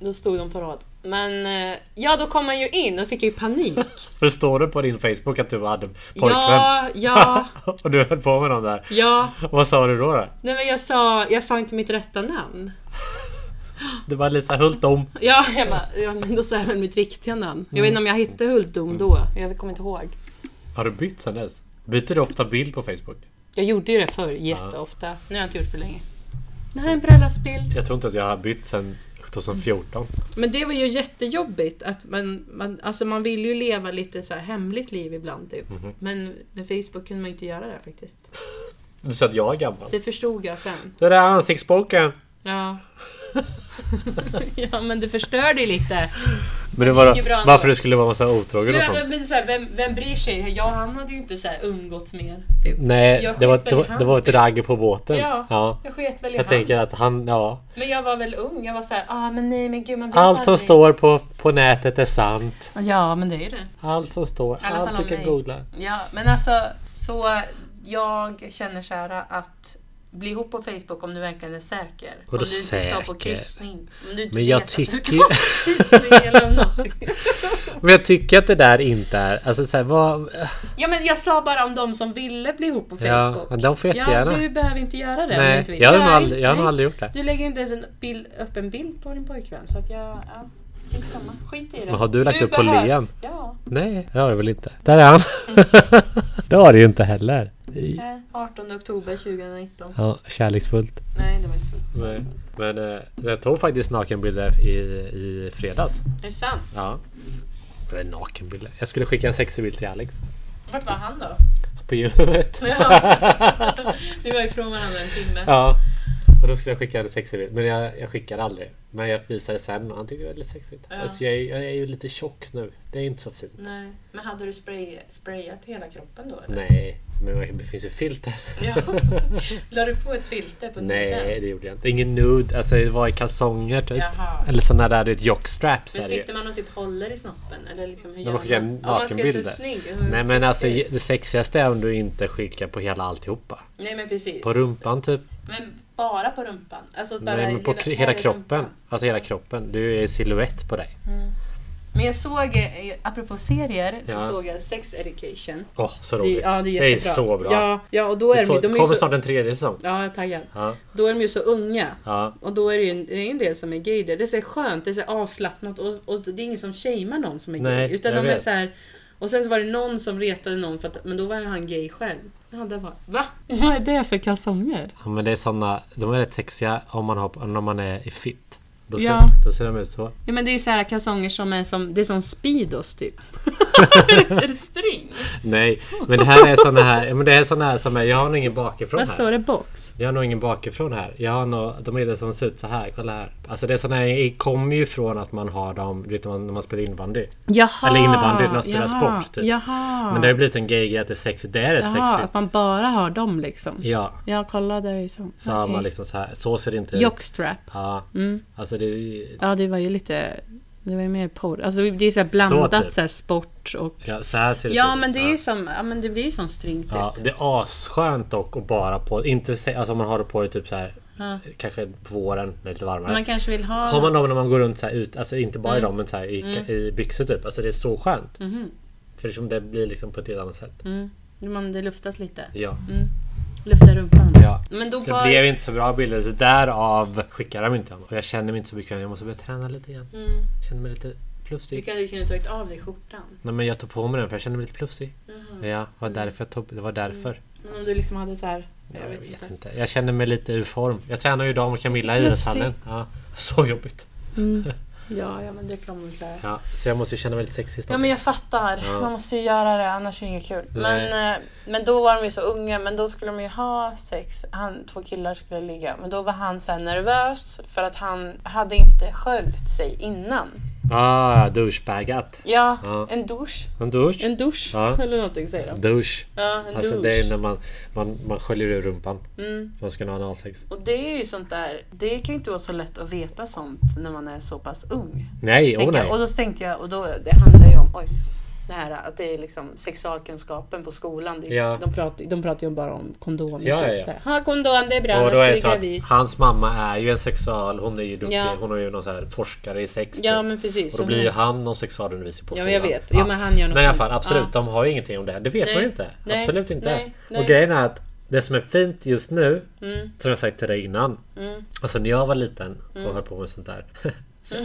Då stod de på rad. Men eh, ja, då kom man ju in och fick ju panik. Förstår du på din Facebook att du hade pojkvän? ja, ja, och du höll på med dem där. ja. Vad sa du då? då? Nej men jag sa, jag sa inte mitt rätta namn. Det var Lisa Hultdom. Ja, jag bara, ja men då sa jag väl mitt riktiga namn. Jag vet inte om jag hittade Hultdom då. Jag kommer inte ihåg. Har du bytt sen dess? Byter du ofta bild på Facebook? Jag gjorde ju det förr jätteofta. Nu har jag inte gjort det på länge. Det här är en bröllopsbild. Jag tror inte att jag har bytt sen 2014. Men det var ju jättejobbigt. Att man, man, alltså man vill ju leva lite så här hemligt liv ibland. Typ. Mhm. Men med Facebook kunde man ju inte göra det faktiskt. Du sa att jag är gammal. Det förstod jag sen. Det där ansiktsboken! Ja. ja men det förstörde ju lite. Men det Det gick ju bra var ändå. varför du skulle vara massa otrogen och sånt. Men, men så här, vem, vem bryr sig? Jag och han hade ju inte så här umgåtts mer. Typ. Nej, Jag det var, skiter det i var, han. det var ett ragg på båten. Ja, ja. Jag sket väl i Jag han. tänker att han, ja. Men jag var väl ung. Jag var så här, ah men nej men gud man vet Allt som aldrig." står på, på nätet är sant. Ja men det är ju det. Allt som står, alla fall allt du om kan mig. googla. Ja, men alltså så jag känner så här att bli ihop på Facebook om du verkligen är säker. Om Vadå du inte ska på säker? kryssning. Om du inte Men jag vet att du ska tycker- på kryssning eller något. Men jag tycker att det där inte är... Alltså så här, vad... Ja, men jag sa bara om de som ville bli ihop på Ja, Facebook. men de får Ja, jättegärna. du behöver inte göra det om du Nej, inte vill. jag har Gör nog aldrig, inte- jag har nog nej. aldrig gjort det. Du lägger ju inte ens en bild, upp en bild på din pojkvän så att jag... Ja, det är inte samma. Skit i det. Men har du lagt upp på behöver- Liam? Ja, Nej, det har du väl inte? Där är han! det har du ju inte heller. I- här, 18 oktober 2019. Ja, kärleksfullt. Nej, det var inte så. Nej. Men eh, jag tog faktiskt nakenbilder i, i fredags. Det är sant. Ja. Eller nakenbilder. Jag skulle skicka en sexig bild till Alex. Vart var han då? På gymmet. Ja. Ni var ifrån varandra en timme. Ja. Och då skulle jag skicka en sexig bild. Men jag, jag skickade aldrig. Men jag visade sen och han tyckte det var väldigt sexigt. Ja. Alltså jag, är- jag är ju lite tjock nu. Det är inte så fint. Nej. Men hade du spray, sprayat hela kroppen då? Eller? Nej, men det finns ju filter. Ja. La du på ett filter på Nej, nudden? det gjorde jag inte. Ingen nude. Alltså det var i kalsonger typ. Jaha. Eller sådana där du vet, jockstraps. Men är det ju. sitter man och typ håller i snoppen? Eller liksom, hur När gör man skickar man? Om man ska se nakenbilder. snygg Nej men alltså sexig. det sexigaste är om du inte skickar på hela alltihopa. Nej men precis. På rumpan typ. Men bara på rumpan? Alltså bara Nej men på kr- hela här är kroppen. rumpan. Alltså hela kroppen. Du är i silhuett på dig. Mm. Men jag såg, eh, apropå serier, så Ja. såg jag Sex Education. Åh, så Det, roligt. ja, det är det jättebra. är så bra. Ja, ja och då är det de, ju- to- de är kommer ju så... snart en tredje säsong. Ja, jag är taggad. Ja. Då är de ju så unga. Ja. Och då är det ju en, det är en del som är gay där. Det är så här skönt, det är så här avslappnat och, och det är ingen som shamear någon som är Nej, gay. Utan jag de är vet. så här, och sen så var det någon som retade någon för att, men då var han gay själv. Ja, det var, va? Vad är det för kalsonger? ja men det är såna. De är rätt sexiga om man, har, om man är i fit. Då ser, Ja. då ser de ut så. Ja men det är så här kalsonger som är som, det är som Speedos typ. är, det, är det string? Nej, men det här är såna här, ja, men det är såna här som är, jag har nog ingen bakifrån Vad här. står det? Box? Jag har nog ingen bakifrån här. Jag har nog, de är det som ser ut så här, kolla här. Alltså det är såna här, kommer ju från att man har dem, du vet när man- när man spelar innebandy. Jaha! Eller innebandy, när man spelar jaha, sport, typ. Jaha! Men det har ju blivit en grej att det är sexigt, det är rätt jaha, sexigt. att man bara har dem liksom. Ja, Ja, kolla där är så. så har man liksom så här, så ser det inte ut. Jockstrap. Ja, Mm. alltså det är- Ja, det var ju lite... Det var ju mer porr. Alltså det är så här blandat så, Så typ. här sport och... ja, så här ser det Ja, ut. men det Ja. är ju som... Ja, men det blir ju som string typ. Ja, det är asskönt dock att bara på, inte se, alltså om man har det på det typ så här, Ja. kanske på våren när det är lite varmare. Man kanske vill ha... Har man dem när man går runt så här ut, alltså inte bara i dem men så här i, i byxor typ. Alltså det är så skönt. Mm. Mhm. För som det blir liksom på ett helt annat sätt. Mm. Man, det luftas lite. Ja. Lufta rumpan. ja. Men då Det var... blev inte så bra bilder så därav skickar de inte dem. Och jag känner mig inte så bekväm. Jag måste börja träna lite igen. Mm. Känner mig lite Du plufsig. kan ju ha tagit av dig skjortan. Nej men jag tog på mig den för jag känner mig lite plufsig. Mm. Ja, det var därför jag tog, det var därför. Om du liksom hade så här... Mm. Jag vet inte. inte. Jag känner mig lite ur form. Jag tränar ju idag med Camilla i Lite idrottshallen. Ja. Så jobbigt. Ja, ja, men det kommer man klara. Ja, så jag måste ju känna mig lite sexig snart. Ja men jag fattar, Ja. man måste ju göra det annars är det inget kul. Nej. Men, eh, men då var de ju så unga, men då skulle de ju ha sex, han, två killar skulle ligga. Men då var han så här nervös för att han hade inte sköljt sig innan. Ah, douchebagat. Ja, Ja. en douche. En douche. En douche, Ja. eller någonting säger de. Douche. Ja, en Alltså douche. det är när man, man, man sköljer ur rumpan. Mm. Man ska ha analsex. Och det är ju sånt där, det kan ju inte vara så lätt att veta sånt när man är så pass ung. Nej, åh Tänker jag. nej. Och då tänker jag, och då, det handlar ju om, oj, det här att det är liksom sexualkunskapen på skolan. Det, Ja. de, pratar, de pratar ju bara om kondom. Ja, typ ja, ja. så här, Ha kondom, det är bra, Och annars då är det blir så du att gravid. hans mamma är ju en sexual. Hon är ju duktig. Ja. Hon är ju någon så här forskare i sex. Ja typ. men precis. och så då blir ju hon- han någon sexualundervisare på ja men jag skolan. vet. Ja, men han gör något Men i alla sånt. fall absolut, Ja. de har ju ingenting om det här. Det vet Nej. man ju inte. Nej. Absolut inte. Nej. Nej. Och grejen är att det som är fint just nu, Mm. som jag sagt till dig innan. Mm. Alltså när jag var liten och höll på med sånt där. Sex.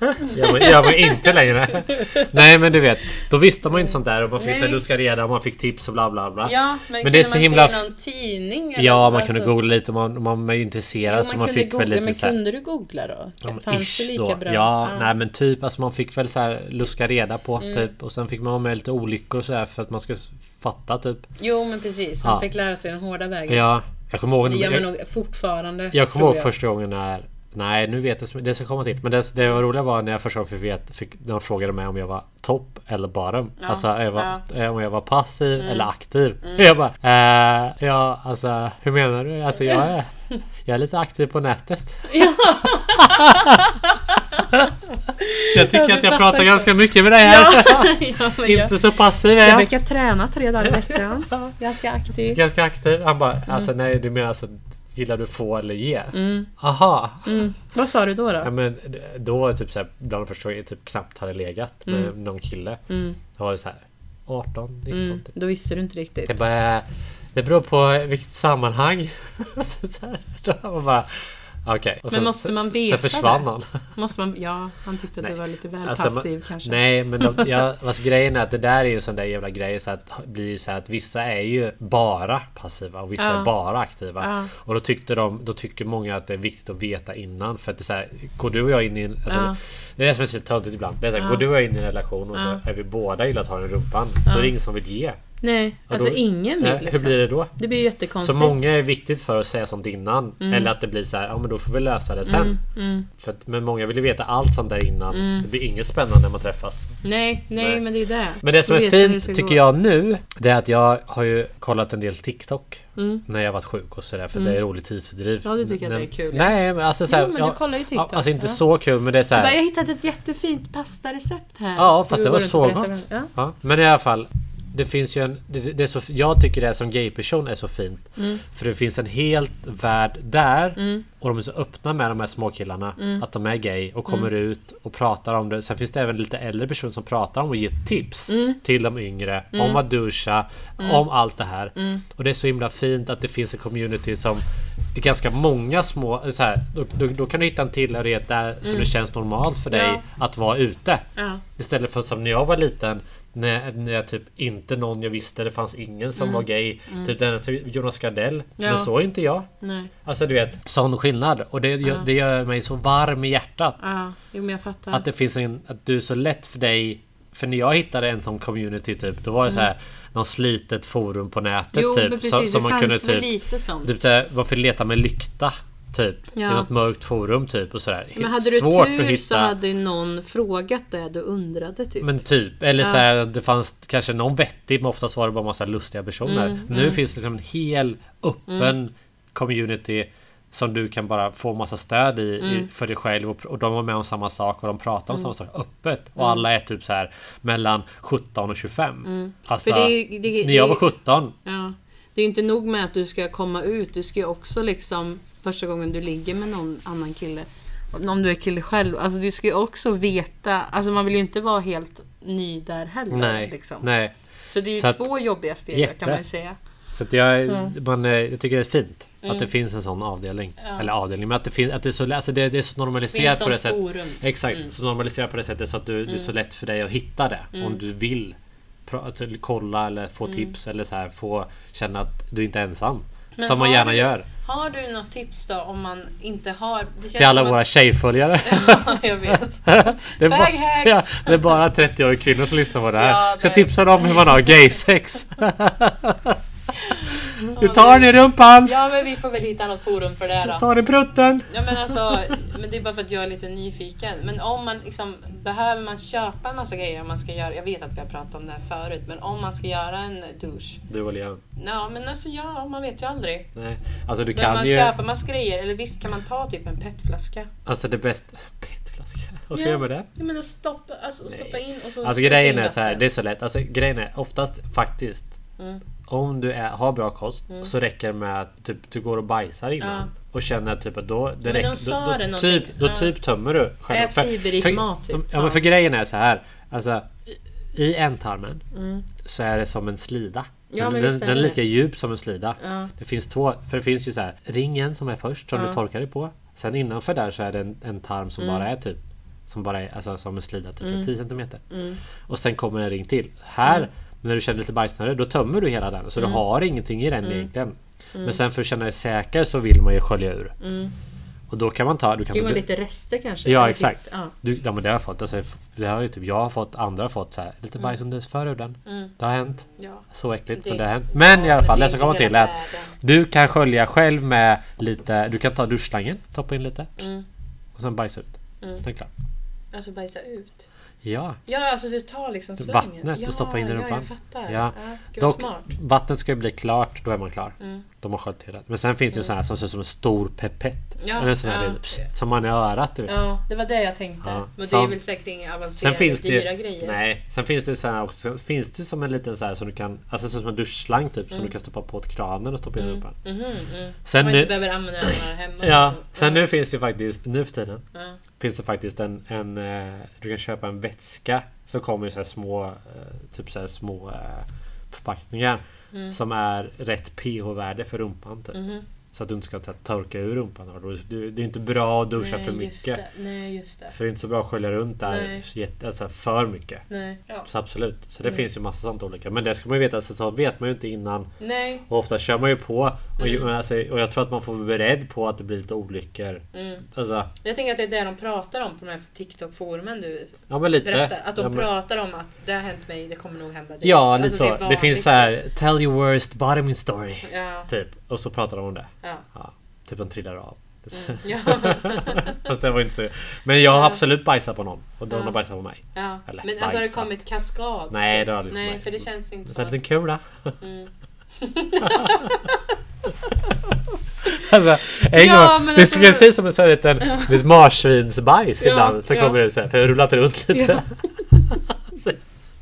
Mm. jag var, jag var inte längre. Nej men du vet, då visste man ju inte sånt där och man fick så här Nej. luska reda och man fick tips och bla bla bla. Ja, men, Men det kunde är så man himla- se någon tidning? eller- Ja, man kunde alltså- googla lite och man, man var ju Jo, intresserad man så kunde man fick googla, väl lite men så här, kunde du googla då? Ja, men Fanns det ish lika då. bra? Ah. Ja, nej men typ. Alltså man fick väl så här luska reda på Mm. typ. Och sen fick man vara med i lite olyckor och så här för att man skulle s- fatta typ. Jo men precis, man Ja. fick lära sig den hårda vägen. Ja, jag kommer ihåg... Det gör man Jag, nog fortfarande. jag kommer tror ihåg första gången när... Nej, nu vet jag. som- Det ska komma till. Men det, det var roliga var när jag första gången fick veta... Fick, när de frågade mig om jag var topp eller bottom. Ja, Mm. Alltså jag var, eh, om jag var passiv eller aktiv. Jag bara... Eh, ja, alltså hur menar du? Alltså jag är... Jag är lite aktiv på nätet. Ja. Jag tycker Ja, att vi jag fattar pratar inte. ganska mycket med dig här. Ja, ja, men jag- Inte så passiv är Jag jag. brukar träna tre dagar i veckan. Ganska aktiv. Ganska aktiv. Han bara, Mm. alltså nej du menar alltså gillar du få eller ge? Aha. mm. Vad sa du då? Ja, då? men då var det typ så här, bland de första jag typ knappt hade legat med någon kille. Mm. Då var det så här 18, 19 Mm, typ. då visste du inte riktigt. Jag bara, det beror på vilket sammanhang. så så här, då var bara, okej. Och Men måste man veta Sen försvann det? han. Måste man, ja, han tyckte att Nej. du var lite väl Alltså, man- passiv kanske. Nej men de, jag, alltså, grejen är att det där är ju en sån där jävla grej så att blir ju så här att vissa är ju bara passiva och vissa Ja. är bara aktiva. Ja. Och då tyckte de, då tycker många att det är viktigt att veta innan för att det är så här, går du och jag in i en, alltså, Ja. Det är det som är så töntigt ibland. Det är så här, Ja. går du och jag in i en relation och så är vi båda gillar att ha den i rumpan. Då är det ingen som vill ge. Nej, då- alltså ingen vill. Nej, Liksom. Hur blir det då? Det blir ju Så jättekonstigt. många är viktigt för att säga sånt innan. Mm. Eller att det blir så här, ja men då får vi lösa det sen. För att, men många vill ju veta allt sånt där innan. Mm. Det blir inget spännande när man träffas. nej, nej, Nej. men det är det. Men det som Du är vet hur det fint ska tycker gå. jag nu Det är att jag har ju kollat en del TikTok Mm. När jag varit sjuk och sådär för det är roligt tidsfördriv Ja, du tycker att Men- det är kul, ja. Nej men alltså såhär, Jo, men du kollar ju TikTok, ja, Alltså inte ja. så kul men det är Jag bara, såhär jag hittade ett jättefint pastarecept här. Ja Du fast det går var runt så och berättar gott vem- Ja. ja. Men i alla fall Det finns ju en det, det är så, Jag tycker det här som gayperson är så fint Mm, För det finns en helt värld där Och de är så öppna med de här småkillarna Att de är gay och kommer ut och pratar om det Sen finns det även lite äldre personer som pratar om och ger tips Till de yngre Om att duscha Om allt det här Och det är så himla fint att det finns en community som det är ganska många små... Så här, då, då, då kan du hitta en tillhörighet där som det känns normalt för dig att vara ute. Ja. Istället för som när jag var liten när, när jag typ inte någon jag visste, det fanns ingen som var gay. Typ den som Jonas Gardell. Mm. Ja. Men så är inte jag. Nej. Alltså du vet, sån skillnad. Och det, gör- det gör mig så varm i hjärtat. Ja. Jo, men jag fattar. Att det finns en... Att du är så lätt för dig För när jag hittade en som community typ, då var det så här någon slitet forum på nätet Mm. Jo, typ. men precis. som, det som man kunde fanns väl typ... lite sånt. Typ där, man fick leta med lykta. Typ. Ja. I något mörkt forum typ och sådär. men hade du Svårt tur att hitta. så hade ju någon frågat det du undrade typ. Men typ. Eller så här, det fanns kanske någon vettig men oftast var det bara massa lustiga personer. Mm, nu finns det liksom en hel öppen community som du kan bara få massa stöd i, Mm. i för dig själv och, och de var med om samma sak och de pratar om samma sak öppet. Mm. Och alla är typ så här mellan 17 och 25. Alltså, Mm. För det, är ju- det, när jag var det, 17 ja, det är ju inte nog med att du ska komma ut, du ska ju också liksom första gången du ligger med någon annan kille, om du är kille själv, alltså du ska ju också veta, alltså man vill ju inte vara helt ny där heller. Nej, liksom. nej. Så det är ju Så att- två jobbiga steg Jätte. kan man ju säga. Så att jag, Mm. man, eh, jag tycker det är fint att det finns en sån avdelning. Eller avdelning, men att det, finns, att det, är, så, alltså det, det är så normaliserat på det finns som sättet. forum. Exakt, Mm. så normaliserat på det sättet så att du, det är så lätt för dig att hitta det. Mm. Om du vill pra, att- eller kolla eller få tips eller så här, få känna att du inte är ensam. Men som man har gärna du- gör. Har du något tips då om man inte har... Det känns Till alla som våra tjejföljare. Att, jag vet. det, är bara, Faghacks. ja, det är bara 30-åriga kvinnor som lyssnar på det här. Ja, Ska det- tipsa dem hur man har gaysex. du tar den i rumpan! Ja men vi får väl hitta något forum för det här då. Ta den i prutten! Ja men alltså, men det är bara för att jag är lite nyfiken. Men om man liksom, behöver man köpa en massa grejer om man ska göra, jag vet att vi har pratat om det här förut, men om man ska göra en douche. Du och Leon. Ja men alltså ja, man vet ju aldrig. Nej, alltså du Behöver kan man ju... köpa massa grejer? Eller visst kan man ta typ en petflaska? Alltså det bästa... Petflaska. Vad ska Ja. jag göra med det? Ja men att stoppa, alltså, stoppa in och så... Alltså spruta grejen in är så här, vatten. det är så lätt. Alltså grejen är oftast faktiskt. Mm. Om du är, har bra kost så räcker det med att typ, du går och bajsar innan. Och känner att typ att då... Det Men de räcker, sa då, det då, någonting. typ, då Ja. typ tömmer du själva. Ät fiberrik för, mat, typ, sa Ja men de. för grejen är så här. Alltså i- i ändtarmen så är det som en slida. Mm. Ja, den, men den, visst är den är det. lika djup som en slida. Ja. Det finns två, för det finns ju så här ringen som är först som du torkar dig på. Sen innanför där så är det en, en tarm Mm. som bara är typ som bara är alltså, som en slida, typ 10 centimeter. Mm. Och sen kommer en ring till. Här, när du känner lite bajsnödig, då tömmer du hela den. Så Mm. du har ingenting i den egentligen. Men sen för att känna dig säker så vill man ju skölja ur. Och då kan man ta... Du kan Mm. Det få- var lite rester kanske? Ja Eller exakt. lite- Ja. Du, ja men det har jag fått. Alltså, det har ju typ, jag har fått, andra har fått så här, lite bajs under förhuden. Det har hänt. ja. Så äckligt Mm. Det- men det har hänt. Men ja, i alla fall men det det är som inte kommer till är hela att du kan skölja själv med lite, du kan ta duschslangen, toppa in lite Mm. och sen bajsa ut. Mm. Sen klart. Alltså bajsa ut. Ja, Ja, alltså du tar liksom Du- slangen. vattnet, du ja, stoppar in i Ja, rumpan. jag fattar. Ja. Ja. Gud, vad dock smart. vattnet ska ju bli klart, då är man klar. Mm. De har sköljt till det. Men sen finns det ju såna här som ser ut som en stor pepett. Ja, Eller en sån här ja. liten, pst, som man i örat du vet. Ja, det var det jag tänkte. Ja. Men det Som- är väl säkert inga Sen avancerade, finns det dyra ju, grejer. Nej, sen finns det ju så här också, sen finns det ju som en liten så här som du kan, alltså som en duschslang typ Mm. som du kan stoppa på åt kranen och stoppa in i rumpan. Mhm, mm. Sen Man nu- inte behöver använda den här hemma. Ja, sen nu finns det ju faktiskt, nu för tiden, Ja. finns det faktiskt en, en eh, du kan köpa en vätska som kommer i så här små, eh, typ så här små eh, förpackningar Mm. som är rätt pH-värde för rumpan typ. Mhm. Så att du inte ska ta, torka ur rumpan. Och då- du- Det är inte bra att duscha Nej, för just mycket. det. Nej, just det. För det är inte så bra att skölja runt där Nej. Mm. jätte, alltså för mycket. Nej. Ja. Så absolut. Så det finns ju massa sånt olika. Men det ska man ju veta. Så sånt vet man ju inte innan. Nej. Och ofta kör man ju på. Och, Mm. ju- alltså, och jag tror att man får vara beredd på att det blir lite olyckor. Mm. Alltså, Jag tänker att det är det de pratar om på de här TikTok-forumen du ja men lite. berättar. Att de ja, men- pratar om att det har hänt mig, det kommer nog hända dig. Ja, Alltså, lite så. är Det, vanligt. finns så här Tell your worst bottoming story. Ja, Typ. Och så pratar de om det. ja. Mm. Ja, typ de trillar av. ja. Fast det var inte så. Men jag har absolut bajsat på någon. Och någon har bajsat på mig. Ja. men Eller alltså har det bajsat. kommit kaskad? Nej, typ? det har det inte Nej, varit. för det känns inte Mm. Så som en att... liten kula. alltså, en Ja, gång, men det alltså- skulle se ut som en sån här liten ett marsvinsbajs Ja, ibland. Så ja. kommer det ut så här, för jag har rullat runt lite.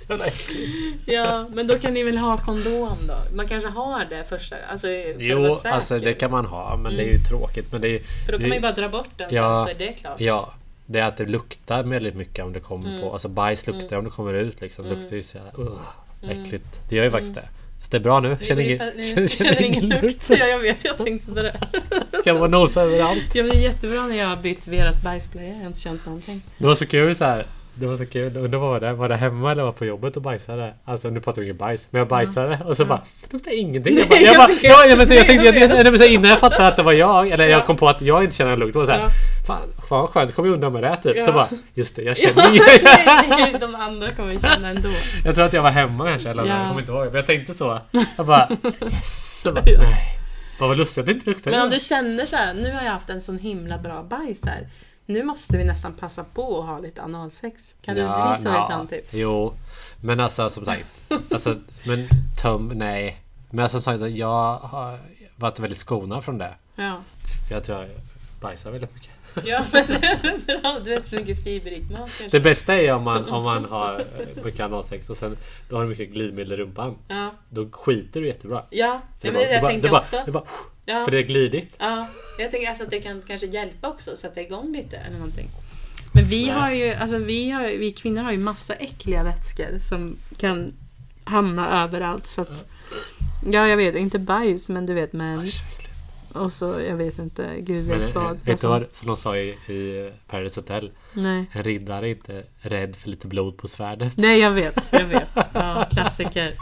Så jävla äckligt. Ja, men då kan ni väl ha kondom då? Man kanske har det första, alltså för att jo, vara säker. alltså det kan man ha, men det är ju tråkigt. Men det är, ju- För då det kan man är ju- ju bara dra bort den Ja. sen så är det klart. Ja, det är att det luktar väldigt mycket om det kommer på. Alltså bajs luktar om det kommer ut liksom. Det luktar ju så jävla uh, äckligt. Det gör ju faktiskt det. Så det är bra nu. Mm. Nu Känner Mm. går det ingen, pa- nu känner, känner ingen lukt. Ja, jag vet, jag tänkte på det. Kan man nosa överallt. Ja, men det är jättebra när jag har bytt Veras bajsblöja, jag har inte känt någonting. Det var så kul så här. Det var så kul. Undrar vad var det? Var det hemma eller var på jobbet och bajsade? Alltså nu pratar vi inget bajs. Men jag bajsade och så bara... Det luktar ingenting. Jag bara... Nej, Jag, jag vet, bara, ja, jag, vet, jag jag tänkte... Jag, vet. nej, men så innan jag fattade att det var jag. Eller Ja. jag kom på att jag inte känner en lukt. Då var det såhär... Ja. Fan, fan vad skönt. Kommer jag undan med det här, typ. Så Ja. bara... Just det, jag Ja, känner ju... nej, de andra kommer ju känna ändå. Jag tror att jag var hemma kanske. Eller Ja. jag kommer inte ihåg. Men jag tänkte så. Jag bara... Yes! Så bara, nej. Bara vad lustigt att det inte luktade. Men om du känner så här, nu har jag haft en sån himla bra bajs här. Nu måste vi nästan passa på att ha lite analsex. Kan du inte bli så ja. ibland typ? Jo, men alltså som sagt. Alltså, men töm, nej. Men alltså, som sagt, jag har varit väldigt skonad från det. Ja. För jag tror jag bajsar väldigt mycket. Ja men bra, du äter så mycket fiberrik mat kanske. Det bästa är ju om man, om man har eh, mycket analsex och sen då har du mycket glidmedel i rumpan. Ja. Då skiter du jättebra. Ja, För ja men det jag bara- tänkte det bara, också. Det bara, Ja. För det är glidigt. Ja, jag tänker alltså att det kan kanske hjälpa också, sätta igång lite eller någonting. Men vi Nej. har ju, alltså vi, har, vi kvinnor har ju massa äckliga vätskor som kan hamna överallt så att Ja jag vet, inte bajs men du vet mens. Och så jag vet inte, gud Men, vet eh, vad. Alltså, vet du vad som de sa i, i Paradise Hotel? Nej. En riddare är inte rädd för lite blod på svärdet. Nej jag vet, jag vet. Ja, klassiker.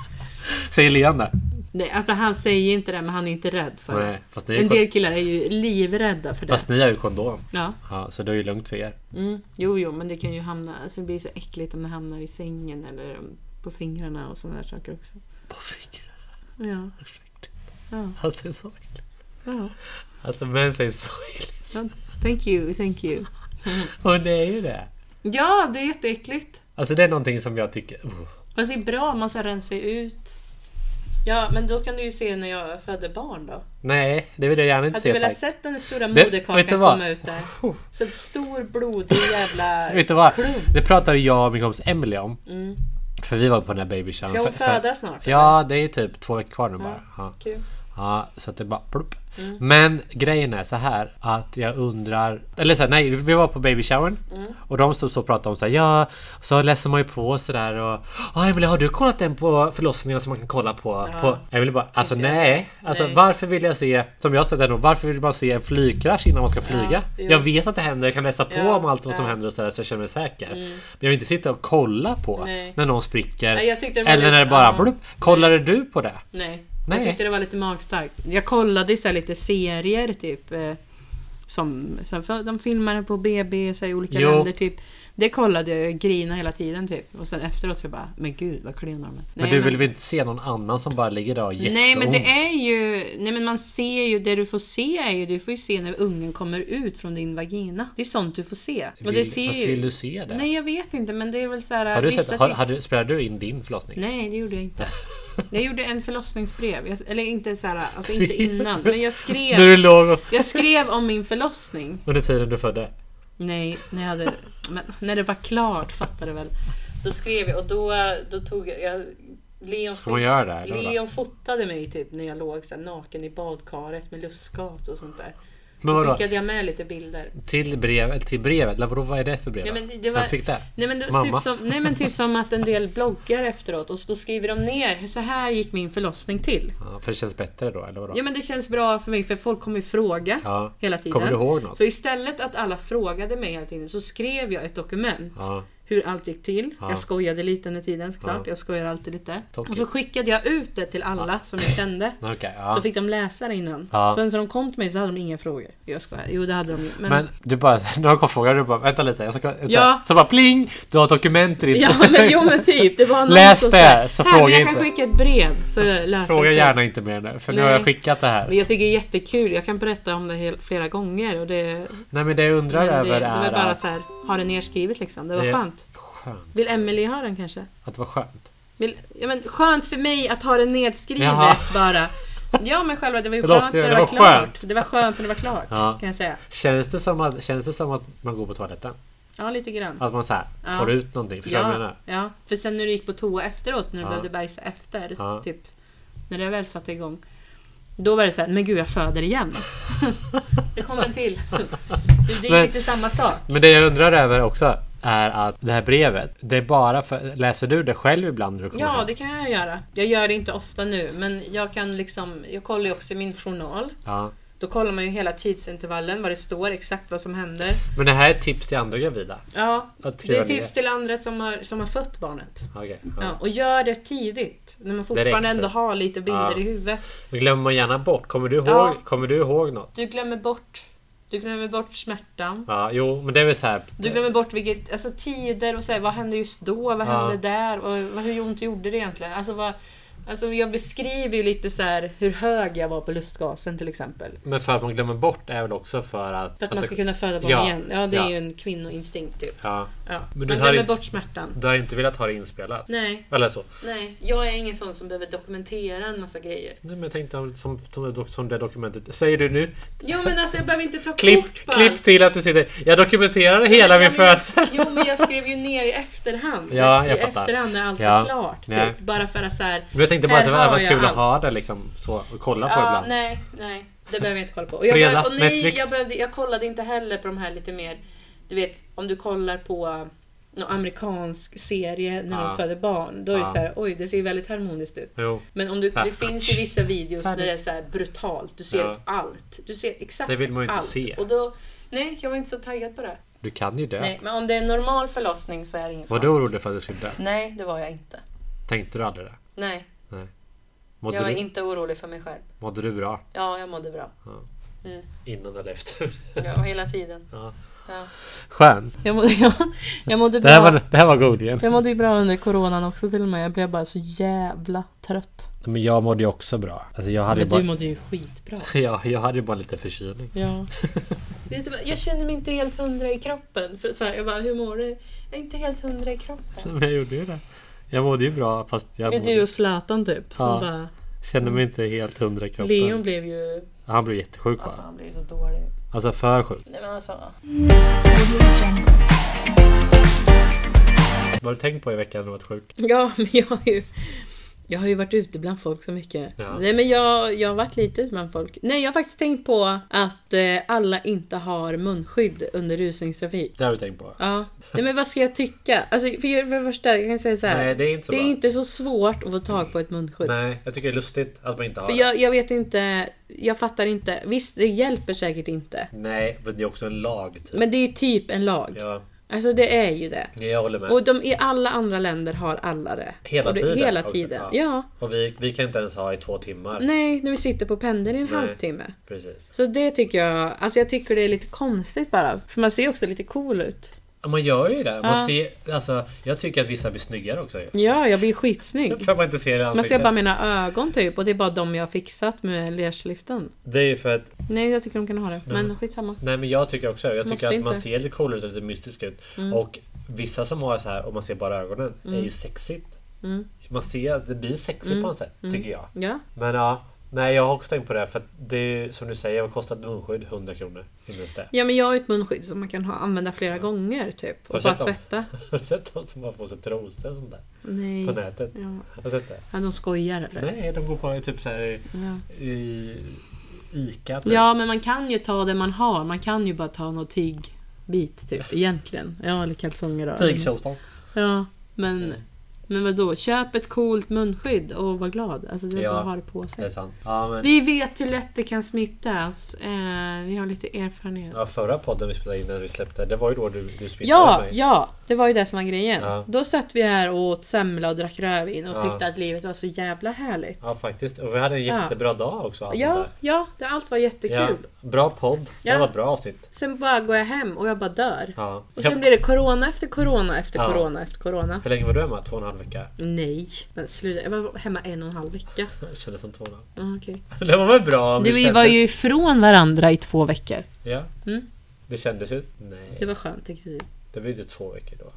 Säger Leon det? Nej, alltså han säger inte det men han är inte rädd för det. Nej, eh, Fast ni, En är, del killar är ju livrädda för det. fast ni har ju kondom. Ja. Ja, så det är ju lugnt för er. Mm. Jo, jo, men det kan ju hamna... Alltså det blir så äckligt om det hamnar i sängen eller på fingrarna och sådana där saker också. På fingrar. Ja. Ja. Alltså det är så äckligt. ja. Alltså mens är så äckligt. Thank you, thank you. Och det är ju det. Ja, det är jätteäckligt. Alltså det är någonting som jag tycker... Uh. Fast det är bra om man ska rensa ut. Ja, men då kan du ju se när jag födde barn då. Nej, det vill jag gärna inte Hade du se. velat tack. sett den stora Det- vet du moderkakan vad? komma ut där? Så stor blodig jävla... Vet du vad? klump. Det pratade jag och min kompis Emily om. Mm. För vi var på den här babyshowen. Ska hon För- för- föda snart? Ja, det är typ två veckor kvar nu bara. Ja. Kul. Ja, så att det bara plupp. Mm. Men grejen är så här att jag undrar... Eller så här, nej, vi var på babyshowern. Mm. Och de stod så och pratade om så här, ja... Så läser man ju på så där och... Ja, Emelie, har du kollat den på förlossningar som man kan kolla på? Ja. på Emelie bara, alltså Finns det? nej. Alltså Nej. varför vill jag se... Som jag har sett det då, varför vill man se en flygkrasch innan man ska flyga? jo. jag vet att det händer, jag kan läsa på Ja, om allt vad som ja. Mm. händer och så där så jag känner mig säker. Men jag vill inte sitta och kolla på Nej. när någon spricker. Nej, jag tyckte det var eller när det lite- bara ja. plupp. Kollade du på det? Nej. Nej. Jag tyckte det var lite magstarkt. Jag kollade ju så här lite serier typ. eh, Som, som för- de filmade på BB och så här, i olika Jo. länder typ. Det kollade jag och grinade hela tiden typ. Och sen efteråt så bara, men gud vad klen de är. Men Nej, du vill väl Oh. inte se någon annan som bara ligger där och har Nej men det jätteont? är ju, nej men man ser ju, det du får se är ju, du får ju se när ungen kommer ut från din vagina. Det är sånt du får se. Och det Vill- ser fast ju... vill du se det? Nej jag vet inte men det är väl så här, har du vissa sett, har, ting- har du, spelade du in din förlossning? Nej, det gjorde jag inte. Jag gjorde en förlossningsbrev. Jag, eller inte så här, alltså inte innan. Men jag När skrev, du låg och- jag skrev om min förlossning. under tiden du födde? Nej, när, jag hade, men, när det var klart fattar du väl. Då skrev jag och då, då tog jag... jag Leon, Får man göra det? här, Laura? Leon fotade mig typ när jag låg så här, naken i badkaret med lustgas och sånt där. Men vadå? Då skickade jag med lite bilder. Till brevet? Till brevet? Eller vadå, vad är det för brev? Ja, då? men det var- Vem fick det? Nej men, det- Mamma. typ som, nej men typ som att en del bloggar efteråt och så- då skriver de ner så här gick min förlossning till. Ja, för det känns bättre då, eller vadå? Ja men det känns bra för mig för folk kommer ju fråga Ja. hela tiden. Kommer du ihåg något? Så istället att alla frågade mig hela tiden så skrev jag ett dokument. Ja. Hur allt gick till. Ja. Jag skojade lite under tiden såklart. Ja. Jag skojar alltid lite. Tolkigt. Och så skickade jag ut det till alla som jag kände. Okej, ja. Så fick de läsa det innan. Ja. Sen så de kom till mig så hade de inga frågor. Jag skojar. Jo det hade de ju. Men, Men du bara, när de kom och frågade, du bara vänta lite, jag ska... Vänta. Ja. Så bara pling! Du har dokument i ditt... Ja men jo men typ. Det var någon Läs som det, sa, så "Här, fråga men jag inte." kan skicka ett brev så jag läser Fråga sen." gärna inte mer nu, för nu har Nej. jag skickat det här. Men jag tycker det är jättekul. Jag kan berätta om det hel- flera gånger och det Nej men det jag undrar Men det, över det är var bara att- så här, ha det nerskrivet liksom. Det var Det- skönt. Skönt. Vill Emily ha den kanske? Att det var skönt. Vill, ja, men skönt för mig att ha det nedskrivet Jaha. bara. Ja men själva det var ju Förlåt, skönt det- när det, det var, var klart. skönt. Det var skönt när det var klart Ja. kan jag säga. Känns det, som att, känns det som att man går på toaletten? Ja lite grann. Att man så här Ja. får ut någonting? Förstår du vad jag Ja, menar? ja, för sen när du gick på toa efteråt när du Ja. behövde bajsa efter, Ja. typ, när det väl satte igång. Då var det så här, men gud jag föder igen. det kom en till. det är Men- lite samma sak. Men det jag undrar över också är att det här brevet, det är bara för... Läser du det själv ibland? När du kommer Ja, hem? det kan jag göra. Jag gör det inte ofta nu, men jag kan liksom... Jag kollar ju också i min journal. ja. Då kollar man ju hela tidsintervallen, vad det står, exakt vad som händer. Men det här är ett tips till andra gravida. Ja, Att det skriva är tips ner. till andra som har, som har fött barnet. Okej, Ja, ja. och gör det tidigt, när man fortfarande Direkt. ändå har lite bilder Ja. i huvudet. Men glömmer man gärna bort. Kommer du ihåg, Ja. kommer du ihåg något? Du glömmer bort, du glömmer bort smärtan. Ja, jo, men det är väl så här. Du glömmer bort vilket, alltså tider och så här, vad hände just då, vad Ja. hände där och vad, hur ont gjorde det egentligen? Alltså, vad, alltså jag beskriver ju lite så här hur hög jag var på lustgasen till exempel. Men för att man glömmer bort är väl också för att... För att man alltså, ska kunna föda barn ja, igen. Ja, det är ja. ju en kvinnoinstinkt typ. Ja. Ja. Men du man har glömmer ju- bort smärtan. Du har inte velat ha det inspelat? Nej, Eller så? nej. Jag är ingen sån som behöver dokumentera en massa grejer. Nej men jag tänkte om- som, som, det dok- som det dokumentet. Säger du nu? Jo men alltså jag behöver inte ta Klipp, kort på klipp allt. till att du sitter... Jag dokumenterade hela Ja, min men jag- födsel! Jo men jag skrev ju ner i efterhand. Ja, jag I fattar. efterhand när allt Ja. var klart. Nej. Typ. Bara för att så här, Men jag tänkte bara Här att det var har varit jag kul att allt. ha det liksom så och kolla på Ja, ibland. ah, nej, nej. Det behöver jag inte kolla på. Och jag, Fredag, behöv, och nej, Netflix. jag, behövde, jag kollade inte heller på de här lite mer, du vet, om du kollar på eh, någon amerikansk serie när Ja. de föder barn, då är det Ja. så här, oj, det ser väldigt harmoniskt ut. Jo. Men om du, Så här, det finns ju vissa videos när det är så här brutalt, du ser Ja. allt. Du ser exakt Det vill man ju inte allt. se. Och då, nej, jag var inte så taggad på det. Du kan ju dö. Nej, men om det är en normal förlossning så är det ingen Var fara. du orolig för att du skulle dö? Nej, det var jag inte. Tänkte du aldrig det? Nej, Mådde, jag var du, inte orolig för mig själv. mådde du bra? Ja, jag mådde bra. Innan eller efter? Ja, hela tiden. Ja. Ja. Skönt. Jag, må, jag, jag mådde Det här, bra. var, det här var god igen. Jag mådde ju bra under coronan också till och med. Jag blev bara så jävla trött. Men jag mådde ju också bra. Alltså jag hade ju Men du bara... mådde ju skitbra. Ja, jag hade ju bara lite förkylning. Ja. Vet du vad, jag kände mig inte helt hundra i kroppen. För så här, jag bara, hur mår du? Jag är inte helt hundra i kroppen. Men jag gjorde ju det. Jag mådde ju bra fast jag Det är mådde, du och Zlatan typ. Som Ja. bara, kände mig inte helt hundra i kroppen. Leon blev ju... Han blev jättesjuk Alltså bara. han blev ju så dålig. Alltså för sjuk. Nej men alltså. Vad har du tänkt på i veckan när du varit sjuk? Ja men jag har ju... Jag har ju varit ute bland folk så mycket. Ja. Nej men jag, jag har varit lite ute bland folk. Nej jag har faktiskt tänkt på att eh, alla inte har munskydd under rusningstrafik. Det har du tänkt på? Ja. Nej men vad ska jag tycka? Alltså för, för det första, jag kan säga så här. Nej, det är inte så det är bra. inte så svårt att få tag på ett munskydd. Nej, jag tycker det är lustigt att man inte har För jag, jag vet inte, jag fattar inte. Visst, det hjälper säkert inte. det. Nej, men det är också en lag typ. Men det är ju typ en lag. Ja, Alltså det är ju det. jag håller med. Och de, i alla andra länder har alla det. Hela Och det, tiden Hela också, tiden. ja. ja. Och vi, vi kan inte ens ha i två timmar. Nej, när vi sitter på pendeln i en Nej. halvtimme. Precis. Så det tycker jag, alltså jag tycker det är lite konstigt bara. För man ser också lite cool ut. Ja, Man gör ju det. Man Ja. ser, alltså, jag tycker att vissa blir snyggare också ju. Ja, jag blir skitsnygg. För att man inte ser det i Man ser ansiktet. bara mina ögon typ och det är bara de jag har fixat med lerslyften. Det är ju för att, Nej jag tycker de kan ha det, Mm. men skitsamma. nej men jag tycker också det. Jag Måste tycker att man inte. Mm. ser lite cool ut och lite mystisk ut. Och vissa som har så här och man ser bara ögonen, är ju sexigt. Mm. Man ser att det blir sexigt på något sätt, tycker jag. Ja, Men ja, nej jag har också tänkt på det. här, För att det är ju som du säger, vad kostar ett munskydd? 100 kronor. Inte ens det. ja men jag har ju ett munskydd som man kan ha, använda flera gånger typ. Har Och bara du sett dem? tvätta. Har du sett de som har på sig trosor och sånt där? Nej. På nätet? Ja. Har du sett det? ja, de skojar eller? Nej, de går på det typ så här i, Ja. i ICA. Typ. ja men man kan ju ta det man har, man kan ju bara ta någon tygbit typ egentligen. Ja eller kalsonger då. Tygkjotan. Ja, men, men vadå? Köp ett coolt munskydd och var glad. Alltså det är Ja. bara att ha det på sig. Det är sant. Ja, men, Vi vet hur lätt det kan smittas. Eh, vi har lite erfarenhet. ja, förra podden vi spelade in när vi släppte, det var ju då du, du smittade Ja, mig. ja, det var ju det som var grejen. Ja. Då satt vi här och åt semla och drack rödvin och Ja. tyckte att livet var så jävla härligt. Ja, faktiskt. Och vi hade en Ja. jättebra dag också. allt Ja, sånt ja, det, allt var där. jättekul. Ja, bra podd. Det Ja. var ett bra avsnitt. Sen bara går jag hem och jag bara dör. Ja. Och sen Ja. blir det corona efter corona efter Ja. corona efter corona. Hur länge var du hemma? Två och en halv vecka? Nej, men sluta. Jag var hemma en och en halv vecka. Det kändes som två och en halv. Ja, okej. Det var väl bra? om Du, det vi kändes- var ju ifrån varandra i två veckor. Ja. Mm. Det kändes ju... Nej. Det var skönt tyckte du. Det var ju inte två veckor då.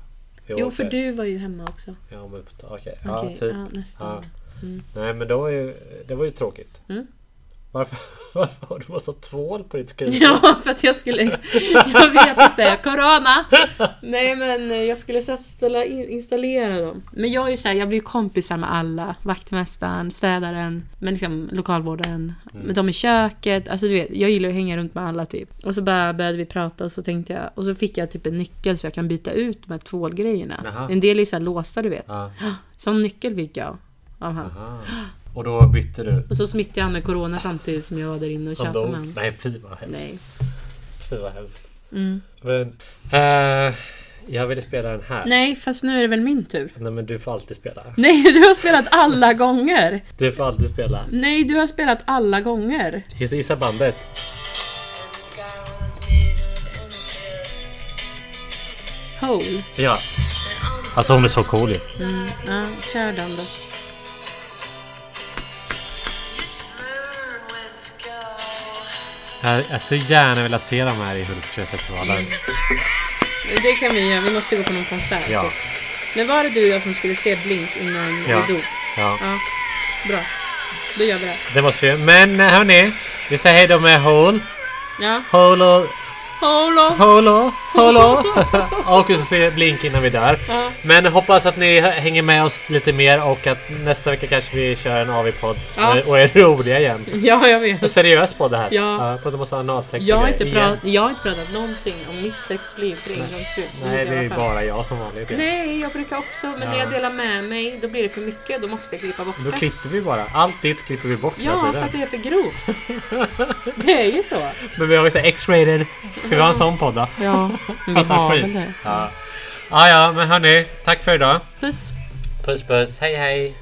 Jo, för du var ju hemma också. Ja, men på- okej. Okej, Ja, typ. ja, nästan. Ja. Nej, men det var ju, det var ju tråkigt. Mm. Varför, varför har du massa tvål på ditt skrivbord? Ja, för att jag skulle... Jag vet inte. Corona! Nej, men eh, jag skulle ställa, in- installera dem. Men jag är ju så här, jag blir ju kompisar med alla. Vaktmästaren, städaren, men liksom lokalvårdaren. Med dem i köket. Alltså du vet, jag gillar ju att hänga runt med alla typ. Och så bara började vi prata och så tänkte jag... Och så fick jag typ en nyckel så jag kan byta ut de här tvålgrejerna. Jaha. En del är ju så här låsta, du vet. Ja. Sån nyckel fick jag av han. Ah, Aha. Och då bytte du? Och så smittade han med corona samtidigt som jag var där inne och Han tjatade dog? med honom. Nej, fy vad hemskt. Nej. Fy vad hemskt. Mm. Men, eh, jag ville spela den här. Nej, fast nu är det väl min tur. Nej men du får alltid spela. Nej, du har spelat alla gånger! Du får alltid spela. Nej, du har spelat alla gånger! Gissa- Gissa bandet. The sky was made of amethyst. Hole. Ja. And on the Alltså hon är så cool ju. Mm. Ja, kör den då. You should learn when to go. Jag jag skulle gärna vilja se dem här i Hultsfredsfestivalen. Det kan vi göra, vi måste gå på någon konsert. Ja. Men var det du och jag som skulle se Blink innan Ja. vi dog? Ja. Ja. Bra. Då gör vi det. Det måste vi Men eh, hörni. Vi säger hej då med Hole. Ja. Hole och... Hole of... Hole och... Hole och... och vi ska se Blink innan vi dör. Ja. Men hoppas att ni hänger med oss lite mer och att nästa vecka kanske vi kör en AV-podd. Ja. Och är roliga igen. Ja, jag vet. En seriös podd det här. Ja. På att de måste ha analsex och Jag har, grejer inte igen. pratat, jag har inte pratat någonting om mitt sexliv för en gångs skull. Nej, I det är ju alla fall. bara jag som vanligt. Nej, jag brukar också, men när jag delar med mig då blir det för mycket. Då måste jag klippa bort Då det. klipper vi bara. Allt ditt klipper vi bort hela Ja, tiden. för att det är för grovt. Det är ju så. Men vi har ju så här X-rated. Ska vi ha en sån podd då? Ja, men vi Fattar har skit. väl det. Ja. ja, ja, men hörni. Tack för idag. Puss. Puss puss. Hej hej.